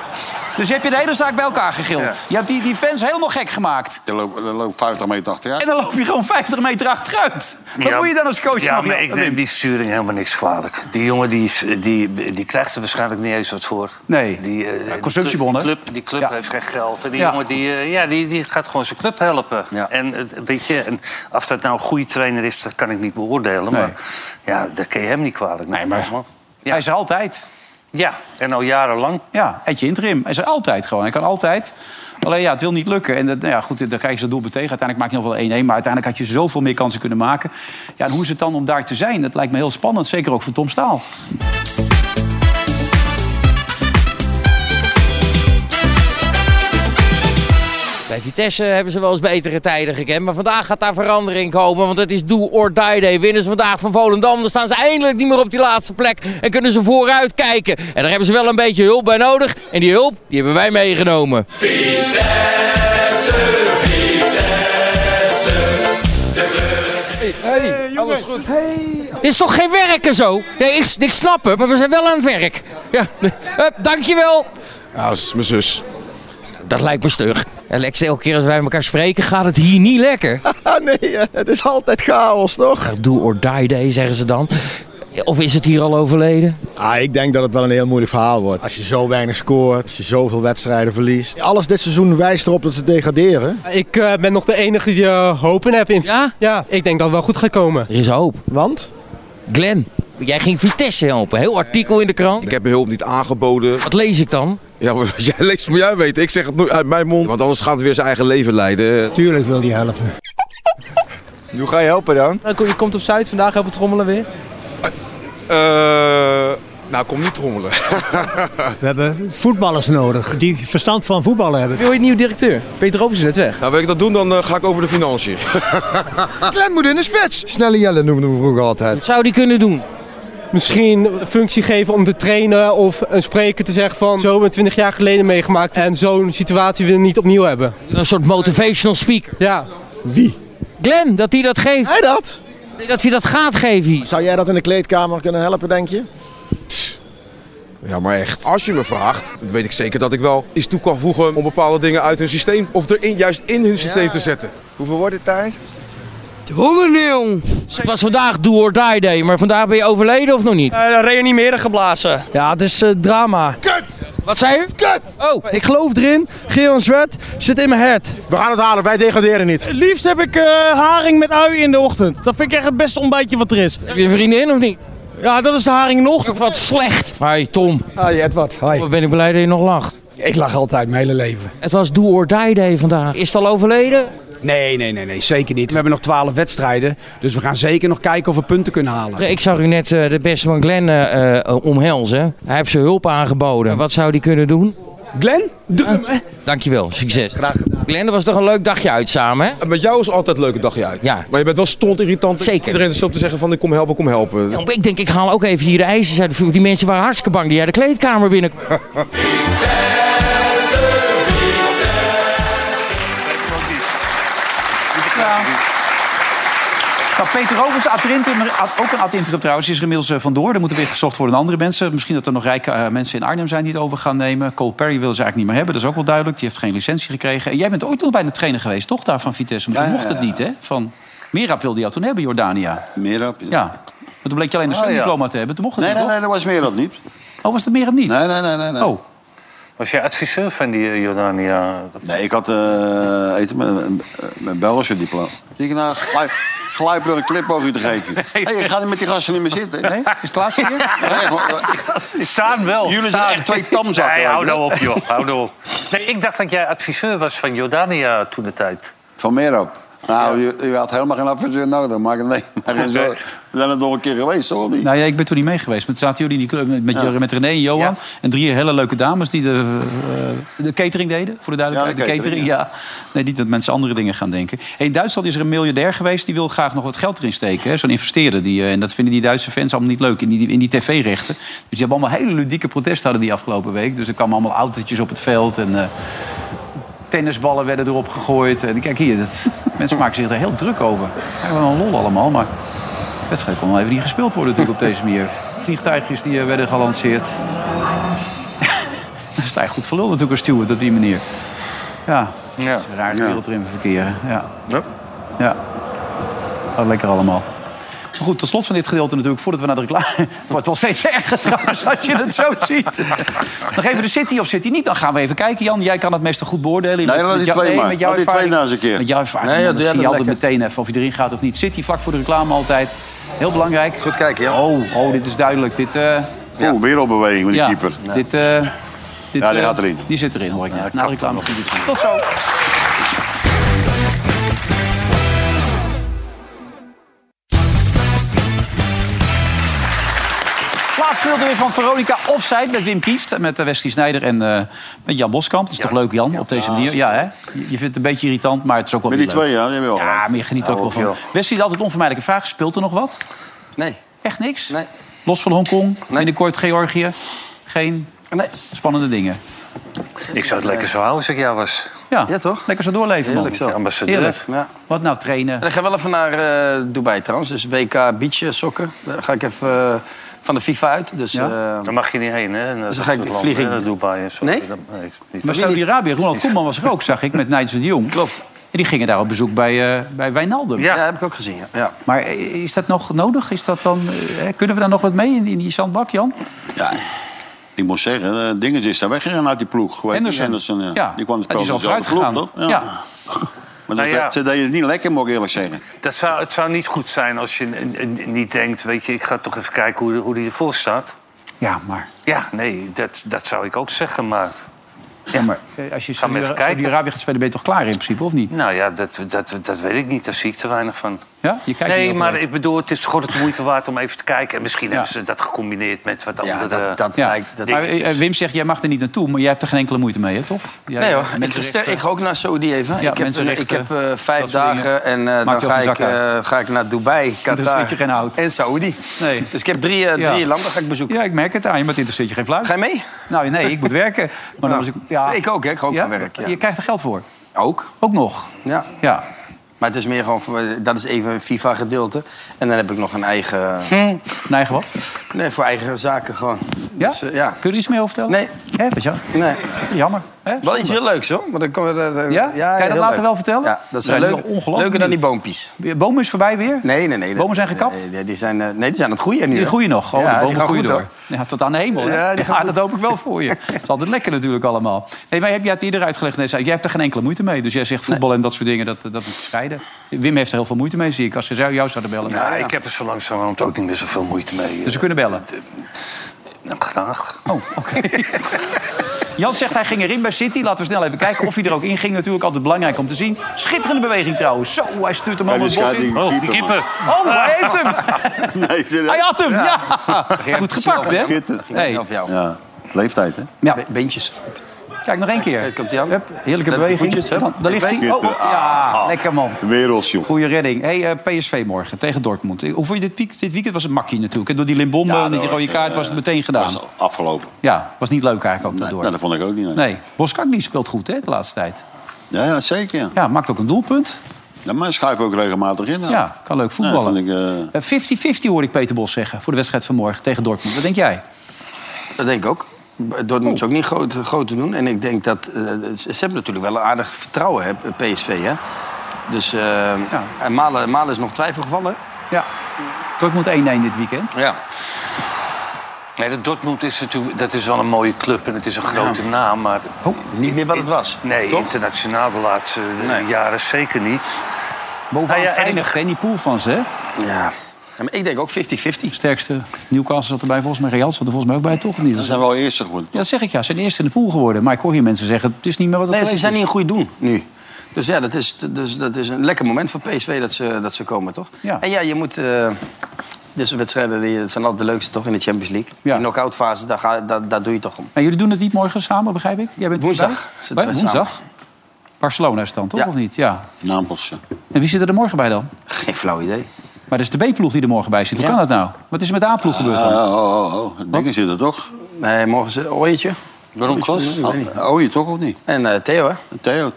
B: Dus je hebt je de hele zaak bij elkaar gegild. Je hebt die, die fans helemaal gek gemaakt.
C: Je loopt, je loopt 50 meter achteruit.
B: En dan loop je gewoon 50 meter achteruit. Wat
E: Ja,
B: moet je dan als coach
E: Ja,
B: nog?
E: maar
B: joh?
E: ik neem die sturing helemaal niks kwalijk. Die jongen die, is- die, die krijgt er waarschijnlijk niet eens wat voor.
B: Nee.
E: Die, eh, die
B: consumptiebon,
E: club-
B: hè?
E: Die club, die club
B: Ja.
E: heeft geen geld. En die
B: Ja.
E: jongen die, eh, ja, die, die gaat gewoon zijn club helpen.
B: Ja.
E: En eh, weet je, en of dat nou een goede trainer is, dat kan ik niet beoordelen. Maar ja, dat kan je hem niet kwalijk nemen.
B: Hij is er altijd.
E: Ja, en al jarenlang.
B: Ja, Etje Interim. Hij is er altijd gewoon. Hij kan altijd. Alleen ja, het wil niet lukken. En dat, nou ja, goed, dan krijg je zijn doelpunt tegen. Uiteindelijk maak je nog wel 1-1. Maar uiteindelijk had je zoveel meer kansen kunnen maken. Ja, en hoe is het dan om daar te zijn? Dat lijkt me heel spannend. Zeker ook voor Tom Staal.
J: Bij Vitesse hebben ze wel eens betere tijden gekend. Maar vandaag gaat daar verandering komen. Want het is do or die day. Winnen ze vandaag van Volendam. Dan staan ze eindelijk niet meer op die laatste plek. En kunnen ze vooruit kijken. En daar hebben ze wel een beetje hulp bij nodig. En die hulp, die hebben wij meegenomen. Dit is toch geen werken zo? Nee, ik, ik snap het. Maar we zijn wel aan het werk. Ja, [laughs] Hup, dankjewel.
K: Ja, dat is mijn zus.
J: Dat lijkt me stug. Alex, elke keer als wij elkaar spreken gaat het hier niet lekker.
K: [laughs] Ah, nee, eh, het is altijd chaos, toch?
J: Do or die day, zeggen ze dan. Of is het hier al overleden?
K: Ah, ik denk dat het wel een heel moeilijk verhaal wordt. Als je zo weinig scoort, als je zoveel wedstrijden verliest. Alles dit seizoen wijst erop dat ze degraderen.
L: Ik eh, ben nog de enige die eh, hopen heb in.
J: Ja?
L: Ja, ik denk dat het wel goed gaat komen.
J: Er is hoop.
K: Want?
J: Glenn, jij ging Vitesse helpen. Heel artikel in de krant.
M: Ik heb mijn hulp niet aangeboden.
J: Wat lees ik dan?
M: Ja, [laughs] wat jij leest, moet jij weten. Ik zeg het nooit uit mijn mond. Want anders gaat het weer zijn eigen leven leiden.
K: Tuurlijk wil die helpen. Hoe ga je helpen dan?
L: Nou, Je komt op Zuid vandaag op het trommelen weer.
M: nou, kom niet trommelen. [laughs]
K: We hebben voetballers nodig die verstand van voetballen hebben.
L: Wil je een nieuwe directeur? Peter Opens is net
K: [laughs]
L: weg.
M: Nou, wil ik dat doen, dan eh, ga ik over de financiën.
K: Glenn moet in de spits. Snelle Jelle noemden we vroeger altijd.
J: Zou die kunnen doen?
L: Misschien een functie geven om te trainen of een spreker te zeggen van... Zo hebben we 20 jaar geleden meegemaakt en zo'n situatie willen we niet opnieuw hebben.
J: Een soort motivational speaker.
L: Ja.
K: Wie?
J: Glenn, dat hij dat geeft.
K: Hij dat?
J: Dat hij dat gaat geven hier.
K: Zou jij dat in de kleedkamer kunnen helpen, denk je?
M: Ja, maar echt. Als je me vraagt, dan weet ik zeker dat ik wel iets toe kan voegen om bepaalde dingen uit hun systeem. Of er in, juist in hun systeem te zetten.
K: Hoeveel wordt het, Thijs?
J: Hongerneeuw. Het was vandaag do or die day, maar vandaag ben je overleden of nog niet?
L: reanimeren geblazen. Ja, het is eh, drama.
J: Wat zei je?
K: Kut!
J: Oh,
K: Ik geloof erin. Geon Zwet zit in mijn head. We gaan het halen. Wij degraderen niet.
L: Het liefst heb ik eh, haring met ui in de ochtend. Dat vind ik echt het beste ontbijtje wat er is.
J: heb je een vriendin of niet?
L: Ja, dat is de haring in de ochtend.
J: Toch wat slecht. Hoi Tom,
L: Hi Edward, hi.
J: wat ben ik blij dat je nog lacht.
L: Ik lach altijd mijn hele leven.
J: Het was do or die day vandaag. Is het al overleden?
L: Nee, nee, nee, nee, zeker niet. We hebben nog twaalf wedstrijden, dus we gaan zeker nog kijken of we punten kunnen halen.
J: Ik zag u net eh, de beste van Glenn eh, eh, omhelzen. Hij heeft zijn hulp aangeboden. Wat zou die kunnen doen? Ah.
L: Glenn, doe hem, hè?
J: Dankjewel, succes.
L: Graag gedaan.
J: Glenn, dat was toch een leuk dagje uit samen, hè?
M: En met jou is altijd een leuke dagje uit.
J: Ja.
M: Maar je bent wel stond irritant.
J: Zeker.
M: Iedereen is op te zeggen van, ik kom helpen, kom helpen.
J: Ja, maar Ik denk, ik haal ook even hier de ijzers uit de vuur. Die mensen waren hartstikke bang die jij de kleedkamer binnen.
B: Nou, Peter Overs, ad interim, ad- ook een ad interim trouwens, is er inmiddels eh, vandoor. Er moeten weer gezocht worden naar andere mensen. Misschien dat er nog rijke eh, mensen in Arnhem zijn die het over gaan nemen. Cole Perry willen ze eigenlijk niet meer hebben, dat is ook wel duidelijk. Die heeft geen licentie gekregen. En jij bent ooit nog bij de trainer geweest, toch, daar van Vitesse? Maar toen
C: Ja, ja,
B: mocht het
C: ja.
B: niet, hè? Van Merab wilde jou toen hebben, Jordania.
C: Meer op.
B: Ja, maar toen bleek je alleen een
E: Oh, ja.
B: zwemdiploma te hebben. Toen mocht het
C: Nee,
B: niet,
C: nee, nee, dat was meer op niet.
B: toch? Oh, was dat Merab niet?
C: Nee, nee, nee, nee. nee.
B: Oh,
E: Was jij adviseur van die eh, Jordania?
C: Nee, ik had eh eten met een een Belgische diploma. Zie ik nou gelijk,
E: [laughs]
C: gelijk door een clipboogje te geven. Hey, ik ga niet met die gasten niet meer zitten.
B: nee? Is het laatste keer?
C: [laughs] Nee, gewoon- eh,
E: Staan wel.
C: Jullie zijn
E: staan.
C: echt twee tamzakken,
E: Nee, hou
C: weet je.
E: nou op, joh. Hou nou op. Nee, ik dacht dat jij adviseur was van Jordania toen de tijd.
C: Van meer op. Nou, je, je had helemaal geen adviseur nodig. Maar nee, maar geen zorgen. We zijn er nog een keer geweest, toch? of Niet?
B: Nou ja, ik ben toen niet mee geweest. Maar toen zaten jullie in die club met, met, met René en Johan. En drie hele leuke dames die de, eh, de catering deden, voor de duidelijkheid.
C: Ja, de
B: de catering, ja. Nee, niet dat mensen andere dingen gaan denken. Hey, in Duitsland is er een miljardair geweest die wil graag nog wat geld erin steken. hè. Zo'n investeerder. Die, eh, en dat vinden die Duitse fans allemaal niet leuk in die, in die tv-rechten. Dus die hebben allemaal hele ludieke protesten hadden die afgelopen week. Dus er kwamen allemaal autootjes op het veld en... eh, Tennisballen werden erop gegooid. En kijk hier, dat, [laughs] mensen maken zich er heel druk over. Ja, wel een lol allemaal, maar de wedstrijd kon wel even niet [laughs] gespeeld worden natuurlijk op deze manier. Vliegtuigjes die eh, werden gelanceerd. sta je goed verlul natuurlijk als steward op die manier. Ja,
E: ja.
B: is een raar wereld erin verkeren. Ja. ja. Gaat lekker allemaal. Maar goed, tot slot van dit gedeelte natuurlijk, voordat we naar de reclame... [laughs] Het wordt wel steeds erger trouwens, als je het
C: [laughs]
B: zo ziet. Nog even de City of City niet, dan gaan we even kijken. Jan, jij kan het meestal goed beoordelen.
C: Nee, laat die
B: jou-
C: twee maar.
B: Met jouw
C: Laat die
B: ervaring-
C: twee nou eens een keer.
B: Met jouw ervaring,
C: Nee, ja,
B: dan
C: doe jij
B: zie je
C: dat
B: altijd meteen even of je erin gaat of niet. City vlak voor de reclame altijd. Heel belangrijk. Goed kijken, ja. Oh, oh dit is duidelijk. Dit, eh
C: Oeh, wereldbeweging met die
B: ja,
C: keeper.
B: Dit, eh dit,
C: Ja, die
B: eh,
C: gaat erin.
B: Die zit erin, hoor ik net. Na de reclame goed iets. Tot zo. Laatste gedeelte weer van Veronica Offside met Wim Kieft, met eh, Wesley Snijder en eh, met Jan Boskamp. Dat is toch leuk, Jan, op deze manier? Ja, hè? Je je vindt het een beetje irritant, maar het is ook wel
C: Met
B: weer
C: die
B: leuk.
C: twee, ja, die hebben we al.
B: Ja, maar je geniet ook wel van. Wesley had altijd onvermijdelijke vraag. Speelt er nog wat?
D: Nee.
B: Echt niks? Nee. Los van Hongkong, binnenkort Georgië. Geen spannende dingen.
E: Ik zou het lekker zo houden als ik jou was.
B: Ja, toch? Lekker zo doorleven, man.
D: Heerlijk zo.
E: Ambassadeur.
B: Heerlijk. Wat nou, trainen?
D: Dan gaan we wel even naar eh, Dubai trouwens. Dus WK Beach eh, Sokken. Daar ga ik even eh, van de FIFA uit. Dus,
E: Ja.
D: eh,
E: Daar mag je niet heen, hè?
D: Dus dan ga ik- vlieg ik-
E: Dubai en zo. Nee?
B: Maar Saudi-Arabië, Ronald Koeman was er ook, zag ik, met Nigel de Jong. Klopt. En die gingen daar op bezoek bij, eh, bij Wijnaldum.
D: ja. heb ik ook gezien. Ja. Ja.
B: Maar eh, is dat nog nodig? Is dat dan, eh, kunnen we daar nog wat mee in, in die zandbak, Jan?
C: Ik moet zeggen, eh Dingens is daar weggegaan uit die ploeg. Hoe heet die?
B: Henderson.
C: Henderson, ja.
B: Ja.
C: Die kwam
B: Ja,
C: dus
B: die is al
C: dezelfde
B: vooruit
C: ploeg,
B: gegaan.
C: toch?
B: Ja.
C: Maar
E: Nou
C: dat-
E: ja.
C: ze deden het niet lekker, moet ik eerlijk zeggen.
E: Dat zou, het zou niet goed zijn als je n- n- niet denkt... weet je, ik ga toch even kijken hoe, hoe die ervoor staat.
B: Ja, maar...
E: Ja, nee, dat, dat zou ik ook zeggen, maar...
B: Ja, maar eh, als je
E: Gaan we even kijken.
B: Saudi-Arabië gaat spelen, ben je toch klaar in principe, of niet?
E: Nou ja, dat, dat, dat weet ik niet. Daar zie ik te weinig van.
B: Ja? Je kijkt niet
E: nee,
B: op,
E: maar
B: eh,
E: ik bedoel, het is gewoon het moeite waard om even te kijken. En misschien hebben ze dat gecombineerd met wat andere...
D: dat- dat
B: ja.
D: lijkt- dat-
B: Maar, eh, Wim zegt, jij mag er niet naartoe, maar jij hebt er geen enkele moeite mee, hè, toch? Jij-
D: nee hoor, ik,
B: mensenrechten.
D: stel- ik ga ook naar Saudi even.
B: Ja,
D: ik heb, ik
B: mensenrechten,
D: heb eh, vijf
B: dat soort dingen.
D: dagen en eh,
B: Maakt
D: dan
B: je ook
D: ga
B: geen
D: ik,
B: zak
D: eh, ga ik naar Dubai,
B: Dat
D: Qatar
B: zit je geen hout.
D: en Saudi.
B: Nee.
D: Dus ik heb drie, eh,
B: Ja.
D: drie landen ga ik bezoeken.
B: Ja, ik merk het aan je, maar het interesseert je geen fluit.
D: Ga je mee?
B: Nou, nee, ik moet werken. Maar dan was ik, ja,
D: Ik ook, hè? ik ga ook
B: Ja?
D: van werk. Ja.
B: Je krijgt er geld voor.
D: Ook.
B: Ook nog.
D: Ja.
B: Ja.
D: Maar het is meer gewoon, voor- dat is even een FIFA-gedeelte. En dan heb ik nog een eigen...
B: Nee, Hm. wat?
D: Nee, voor eigen zaken gewoon.
B: Ja?
D: Dus, eh, ja.
B: Kun je er iets meer over vertellen?
D: Nee.
B: Hè, weet je
D: Nee.
B: wel? Jammer. Hè?
D: Wel iets heel leuks hoor. Maar dan komen we, daar-
B: Ja? Kan je dat
D: heel
B: later
D: leuk.
B: wel vertellen?
D: Ja, dat zijn
B: Nee,
D: leuke,
B: nog ongelooflijk
D: leuker dan die
B: benieuwd.
D: boompjes.
B: Bomen is voorbij weer?
D: Nee, nee, nee.
B: Bomen zijn gekapt?
D: Nee, nee, die zijn, eh, nee, die zijn aan het groeien nu.
B: Die
D: hè?
B: groeien nog. Oh,
D: Ja,
B: de
D: die
B: bomen
D: gaan
B: groeien
D: goed,
B: door. Ja, tot aan de hemel. hè?
D: Ja,
B: Ja,
D: die gaan
B: dat hoop ik wel
D: [laughs]
B: voor je. Het is altijd lekker natuurlijk allemaal. Nee, maar heb jij het eerder uitgelegd? Nee, zei ik, jij hebt er geen enkele moeite mee. Dus jij zegt voetbal en dat soort dingen, dat, dat moet je scheiden. Wim heeft er heel veel moeite mee, zie ik. Als ze zou- jou zouden bellen.
E: Nou, ik heb er zo langzamerhand ook niet meer zoveel moeite mee. Eh,
B: Dus ze kunnen bellen.
E: Nou, graag.
B: Oh, oké. [laughs] Jan zegt hij ging erin bij City. Laten we snel even kijken of hij er ook in ging. Natuurlijk altijd belangrijk om te zien. Schitterende beweging trouwens. Zo, hij stuurt hem
C: Hij
B: allemaal het bos
C: bescheidt
B: in.
C: die-
B: Oh,
E: Oh, die keeper.
B: hij heeft hem.
C: [laughs] Nee, serieus.
B: Hij had hem, ja. Goed gepakt, hè?
C: Schitterend.
B: Hey.
D: Of jou.
C: Ja, leeftijd, hè?
B: Ja,
D: Be- Beentjes.
B: kijk nog één keer.
D: Kijk, komt die aan.
B: Hup, heerlijke
D: Let op die
B: beweging.
D: voetjes, hup.
B: Dan, dan ligt hij. Oh, oh, ja, lekker man.
C: Werelds, Ah. joh.
B: Goeie redding. Hey, eh, PSV morgen tegen Dortmund. Hoe vond je dit, piek- dit weekend? was het makkie natuurlijk. En door die Limbombe
C: Ja,
B: en die
C: dat
B: rode
C: was,
B: kaart
C: eh,
B: was het meteen gedaan.
C: Dat is afgelopen.
B: Ja, was niet leuk eigenlijk ook
C: Nee,
B: daardoor.
C: nou, dat vond ik ook niet. Nee.
B: Nee, Boskak die speelt goed hè, de laatste tijd.
C: Ja, ja, zeker. Ja.
B: Ja, maakt ook een doelpunt.
C: Ja, maar schuif ook regelmatig in. nou.
B: Ja, kan leuk voetballen.
C: Ja, dat vond ik,
B: Eh, 50-50 hoor ik Peter Bos zeggen voor de wedstrijd van morgen tegen Dortmund. Wat denk jij?
D: Dat denk ik ook.
B: Oh.
D: Dortmund is ook niet groot, groot te doen. En ik denk dat... eh, ze- ze hebben natuurlijk wel een aardig vertrouwen, hè, PSV. Hè? Dus... eh, En Malen, Malen is nog twijfelgevallen.
B: Ja, Dortmund 1-1 dit weekend.
D: Ja.
E: Nee, dat Dortmund is natuurlijk, dat is wel een mooie club en het is een grote naam, maar...
D: Niet meer wat het was.
E: Nee,
D: Toch?
E: internationaal de laatste eh, jaren zeker niet.
B: Bovenaan
E: Nou ja, en ik-
B: eindigt hè, die pool van ze. hè?
D: Ja. Ja, maar ik denk ook 50-50.
B: Sterkste. Newcastle zat erbij volgens mij. Real zat er volgens mij ook bij, toch? Of Niet?
C: Ze zijn wel eerste geworden.
B: Ja, dat zeg ik ja. Ze zijn eerst in de pool geworden. Maar ik hoor hier mensen zeggen, het is niet meer wat het
D: Nee, ze
B: geweest
D: zijn niet
B: is.
D: in goed doen nu. Dus ja, dat is, dus dat is een lekker moment voor PSV dat ze, dat ze komen, toch?
B: Ja.
D: En ja, je moet... eh dus wedstrijden die, dat zijn altijd de leukste, toch, in de Champions League?
B: Ja.
D: Die knock-out fase, daar, ga, daar, daar doe je toch om.
B: En Nou, jullie doen het niet morgen samen, begrijp ik? Jij bent
D: Woensdag
B: erbij?
D: zitten
B: Bij-
D: we
B: Woensdag? Barcelona is dan, toch?
D: Ja.
B: Of niet? Ja.
C: Napels, ja.
B: En wie zit er morgen bij dan?
D: Geen flauw idee.
B: Maar dat is de B-ploeg die er morgen bij zit. Hoe
D: Ja.
B: kan dat nou? Wat is er met de A-ploeg gebeurd dan?
C: Oh, oh, oh, oh. Dingen zitten toch?
D: Nee, morgen ze ooitje.
E: Waarom, Klas?
C: Oh, je toch of niet?
D: En eh, Theo, hè?
C: Theo.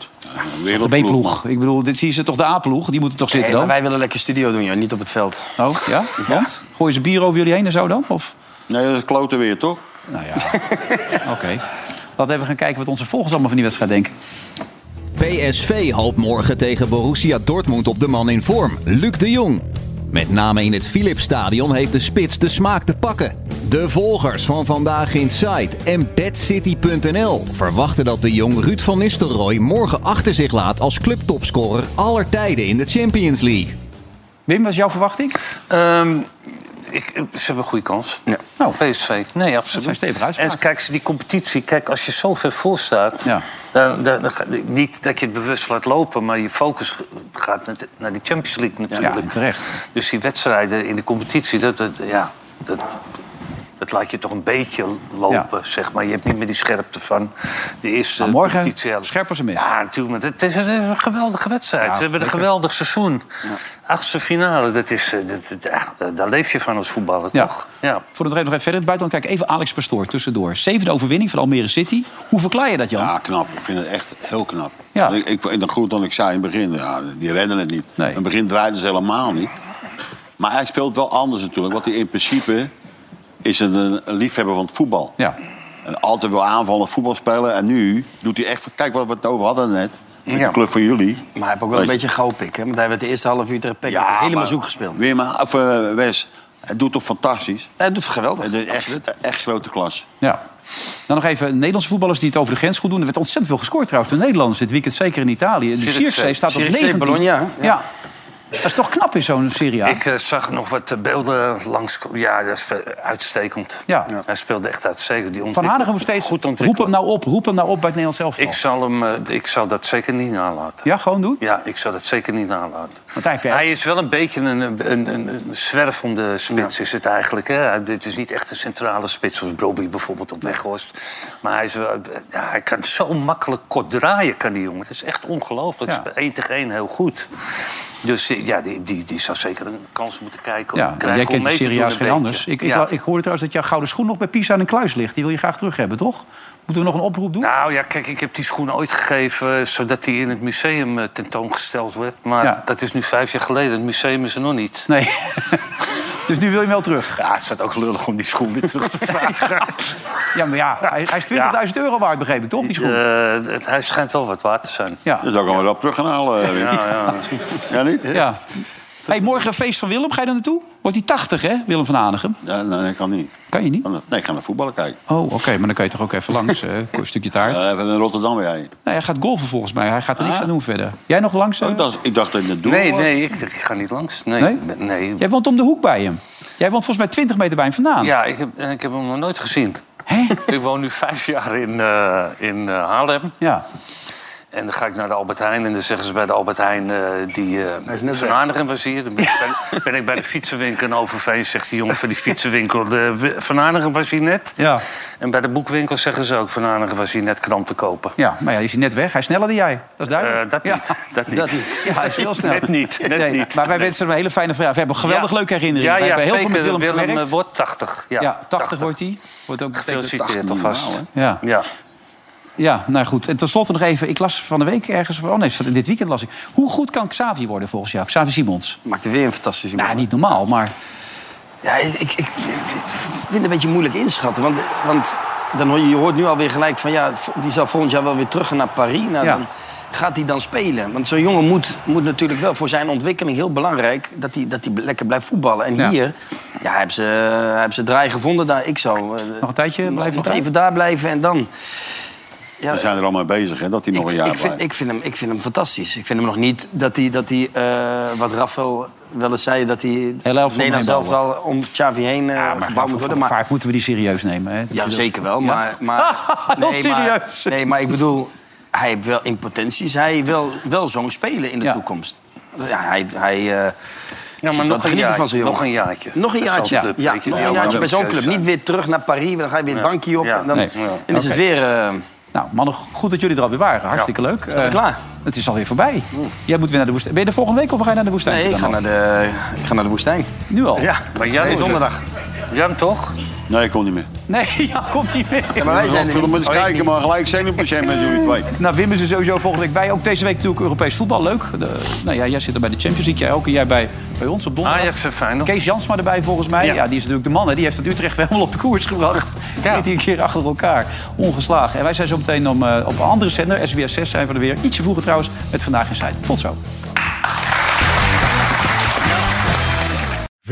B: De B-ploeg. Ik bedoel, dit zien ze toch de A-ploeg? Die moeten toch zitten
D: Nee, maar
B: dan?
D: wij willen lekker studio doen, joh. niet op het veld.
B: Oh,
D: [laughs]
B: ja? Want? Gooien ze bier over jullie heen en zo dan? Of?
C: Nee, dat is kloten weer, toch?
B: Nou ja, oké. Laten we even gaan kijken wat onze volgers allemaal van die wedstrijd denken.
N: PSV hoopt morgen tegen Borussia Dortmund op de man in vorm, Luc de Jong. Met name in het Philipsstadion heeft de spits de smaak te pakken. De volgers van Vandaag in Site en BadCity.nl verwachten dat de jong Ruud van Nistelrooy morgen achter zich laat als clubtopscorer aller tijden in de Champions League.
B: Wim, wat is jouw verwachting?
E: Ehm, Ik, eh, ze hebben een goede kans. Nou, PSV. Nee, absoluut.
B: zijn stevige
E: En kijk, ze- die competitie, kijk, als je zo ver voor staat... Dan, dan, dan ga- niet dat je het bewust laat lopen, maar je focus gaat naar de- naar die Champions League natuurlijk.
B: terecht.
E: Dus die wedstrijden in de competitie, dat, dat, ja, dat, dat laat je toch een beetje lopen, zeg maar. Je hebt niet meer die scherpte van de eerste morgen scherper
B: ze mis.
E: Ja, natuurlijk. Maar het is, het is een geweldige wedstrijd.
B: Ja,
E: ze hebben
B: zeker.
E: een geweldig seizoen. Achtste finale, dat is, eh, dat, dat- ja, daar- daar leef je van als voetballer,
B: Ja.
E: toch? Ja.
B: Voor de nog even verder in het buitenland kijken. Even Alex Pastoor tussendoor. Zevende overwinning van Almere City. Hoe verklaar je dat, Jan?
C: Ja, knap. Ik vind het echt heel knap. Ik, ik, en dat goed dan ik zei in het begin. Ja, die redden het niet. In het begin draaiden ze helemaal niet. Maar hij speelt wel anders natuurlijk. Want hij in principe is een, een liefhebber van het voetbal.
B: Ja.
C: En altijd wil aanvallen, voetbal spelen. En nu doet hij echt... Kijk wat we het over hadden net. Met
D: Ja.
C: de club van jullie.
D: Maar hij heeft ook wel een beetje gauw pik, hè? Want hij werd de eerste half uur tegen Peck helemaal
C: maar-
D: zoek gespeeld.
C: Weer maar, of, eh, Wes, het doet toch fantastisch?
D: Hij doet geweldig.
C: Het is echt, echt grote klas.
B: Ja. Dan nog even Nederlandse voetballers die het over de grens goed doen. Er werd ontzettend veel gescoord trouwens. De Nederlanders dit weekend, zeker in Italië. De
E: Serie C.
B: Circe staat op
E: Serie C,
B: 19.
E: Bologna, hè?
B: ja.
E: Ja.
B: Dat is toch knap in zo'n Serie A.
E: Ik eh, zag nog wat eh, beelden langs. Ja, dat is eh, uitstekend.
B: Ja.
E: Hij speelde echt uitstekend. Die
B: Van
E: ontwikkeling-
B: Hanegem moet steeds
E: goed
B: roep
E: ontwikkeld.
B: hem nou op. Roep hem nou op bij het Nederlands elftal.
E: Ik zal, hem, eh, ik zal dat zeker niet nalaten.
B: Ja, gewoon doen?
E: Ja, ik zal dat zeker niet nalaten.
B: Want hij,
E: Hij is wel een beetje een, een, een, een zwerf om de spits, is het eigenlijk. Hè? Hij- Dit is niet echt een centrale spits, zoals Broby bijvoorbeeld op Weghorst. Maar hij, is wel, ja, hij kan zo makkelijk kort draaien, kan die jongen. Dat is echt ongelooflijk.
B: Ja.
E: Hij speelt Eén tegen één heel goed. Dus eh, ja, die, die, die zou zeker een kans moeten kijken.
B: ja,
E: krijgen
B: jij
E: om
B: kent de
E: mee te
B: Serie
E: doen
B: A als
E: een
B: geen
E: beetje.
B: anders. Ik, ik,
E: Ja.
B: ik hoorde trouwens dat jouw gouden schoen nog bij Pisa in een kluis ligt. Die wil je graag terug hebben, toch? Moeten we nog een oproep doen?
E: Nou ja, kijk, ik heb die schoen ooit gegeven... eh, zodat die in het museum eh, tentoongesteld werd. Maar
B: Ja.
E: dat is nu vijf jaar geleden. Het museum is er nog niet. [laughs]
B: Nee. dus nu wil je hem wel terug?
E: Ja, het staat ook lullig om die schoen weer
B: [laughs]
E: terug te vragen.
B: ja, maar ja, hij, hij is 20.000 euro waard, begreep ik, toch? Die schoen?
E: Eh, het, hij schijnt wel wat waard te zijn.
B: Ja.
C: Dat zou ik hem wel terug gaan halen. eh, Wim.
E: Ja, ja.
C: [laughs] Ja, niet?
B: Ja. Hey, morgen een feest van Willem, ga je daar naartoe? Wordt hij 80, hè, Willem van Hanegem?
C: Ja, nee, ik kan niet.
B: Kan je niet?
C: Nee, ik ga naar voetballen kijken.
B: Oh, oké, maar dan kan je toch ook even langs, hè? een stukje taart.
C: Eh, even in Rotterdam weer heen.
B: Nee, hij gaat golven volgens mij, hij gaat er niks aan doen verder. Jij nog langs? eh?
C: Ik dacht, ik dacht dat je het doel
E: Nee,
C: was.
E: nee, ik, ik ga niet langs. Nee,
B: Nee?
E: nee? nee.
B: Jij woont om de hoek bij hem. Jij woont volgens mij 20 meter bij hem vandaan.
E: Ja, ik heb, ik heb hem nog nooit gezien. Ik woon nu vijf jaar in, eh, in eh, Haarlem.
B: Ja.
E: En dan ga ik naar de Albert Heijn en dan zeggen ze bij de Albert Heijn... eh, die eh Van Hanegem was hier. Dan ben, ik-
B: [laughs]
E: ben, ben ik bij de fietsenwinkel in Overveen. Zegt die jongen van die fietsenwinkel... De, w- van Hanegem was hier net.
B: Ja.
E: En bij de boekwinkel zeggen ze ook... Van Hanegem was hier net kram te kopen.
B: Ja, maar ja, is hij net weg. Hij is sneller dan jij. Dat is duidelijk.
E: Eh, dat niet. Dat niet.
B: [laughs] Ja, hij is heel snel.
E: Net niet. Net
B: Nee,
E: niet.
B: Maar wij wensen hem een hele fijne vraag. We hebben geweldig
E: Ja.
B: leuke herinneringen.
E: Ja,
B: Wij
E: ja,
B: hebben heel
E: zeker.
B: veel met Willem,
E: Willem eh,
B: gewerkt.
E: wordt 80. Ja,
B: Ja, 80 wordt hij. Wordt ook
E: Gefeliciteerd
B: 80
E: alvast.
B: minimaal, hè? Ja.
E: ja.
B: Ja, nou goed. En tenslotte nog even. Ik las van de week ergens... Oh nee, van dit weekend las ik. Hoe goed kan Xavi worden volgens jou? Xavi Simons.
D: Maakte weer een fantastische
B: Nou, niet normaal, maar...
D: Ja, ik, ik, ik vind het een beetje moeilijk inschatten. Want, want dan hoor je, je hoort nu alweer gelijk van... ja, v- die zal volgend jaar wel weer terug gaan naar Parijs. Nou,
B: Ja.
D: dan gaat hij dan spelen? Want zo'n jongen moet, moet natuurlijk wel voor zijn ontwikkeling heel belangrijk... dat hij, dat hij lekker blijft voetballen. En
B: Ja.
D: hier, ja, hij heeft ze, hij heeft ze draai gevonden daar. Ik zou eh,
B: Nog een tijdje blijven
D: nog
B: daar?
D: even daar blijven en dan...
C: We zijn er al mee bezig, hè, dat hij nog een jaar
D: Ik vind,
C: blijft.
D: ik, vind hem, ik vind hem fantastisch. Ik vind hem nog niet dat hij, dat hij eh, wat Rafael wel eens zei, dat hij Nederland
B: omheen
D: zelf al om Xavi heen eh, gebouwd moet worden. Maar,
B: Vaak moeten we die serieus nemen. Hè?
D: ja, zeker wel. Maar, [laughs] maar,
B: Heel
D: maar, nee, maar ik bedoel, hij heeft wel in potenties, hij wil wel zo'n spelen in de toekomst. Ja, hij, hij eh,
E: Ja,
D: zit
E: maar nog
D: wel te
E: een,
D: genieten
E: jaar,
D: van zo'n jongen.
E: nog een jaartje.
D: Nog een
E: Bij zo'n
D: jaartje,
E: club,
D: ja,
E: weet je,
D: nog
E: die
D: een
E: allemaal
D: jaartje bij zo'n club.
E: ambitieus
D: Niet weer terug naar Parijs, dan ga je weer het
E: Ja.
D: bankje op.
E: Ja.
D: En dan,
E: Nee.
D: en
E: Ja.
D: dan is het
B: Oké.
D: weer... eh,
B: Nou, mannen, goed dat jullie er alweer waren. Hartstikke
D: Ja.
B: leuk.
D: Is dat
B: Eh,
D: klaar?
B: Het is alweer voorbij. Jij moet weer naar de woestijn. Ben je er volgende week of ga je naar de woestijn?
D: Nee, ik ga, naar de, ik ga naar de woestijn.
B: Nu al?
D: Ja,
E: Maar jij
D: Nee,
E: moet-
D: donderdag.
E: Jan, toch?
C: Nee, ik kom niet meer.
B: Nee, [laughs] ja, komt niet meer.
C: Ja, maar wij zijn er Veel niet. mensen Oh, ik kijken, niet. maar gelijk zenuwpatiënt met jullie twee.
B: [laughs] Nou, Wim is er sowieso volgende week bij. Ook deze week natuurlijk Europees voetbal. Leuk. De, nou ja, jij zit er bij de Champions League. Jij ook. En jij bij, bij ons op donderdag.
E: Ajax en Feyenoord.
B: Kees Jansma erbij volgens mij. eh, Ja. die is natuurlijk de man. Hè. Die heeft het Utrecht wel helemaal op de koers gebracht. Ja. Zit hier een keer achter elkaar. Ongeslagen. En wij zijn zo meteen om, eh, op een andere zender. SBS 6 zijn we er weer. Ietsje vroeger trouwens. Met Vandaag in Zuid. Tot zo.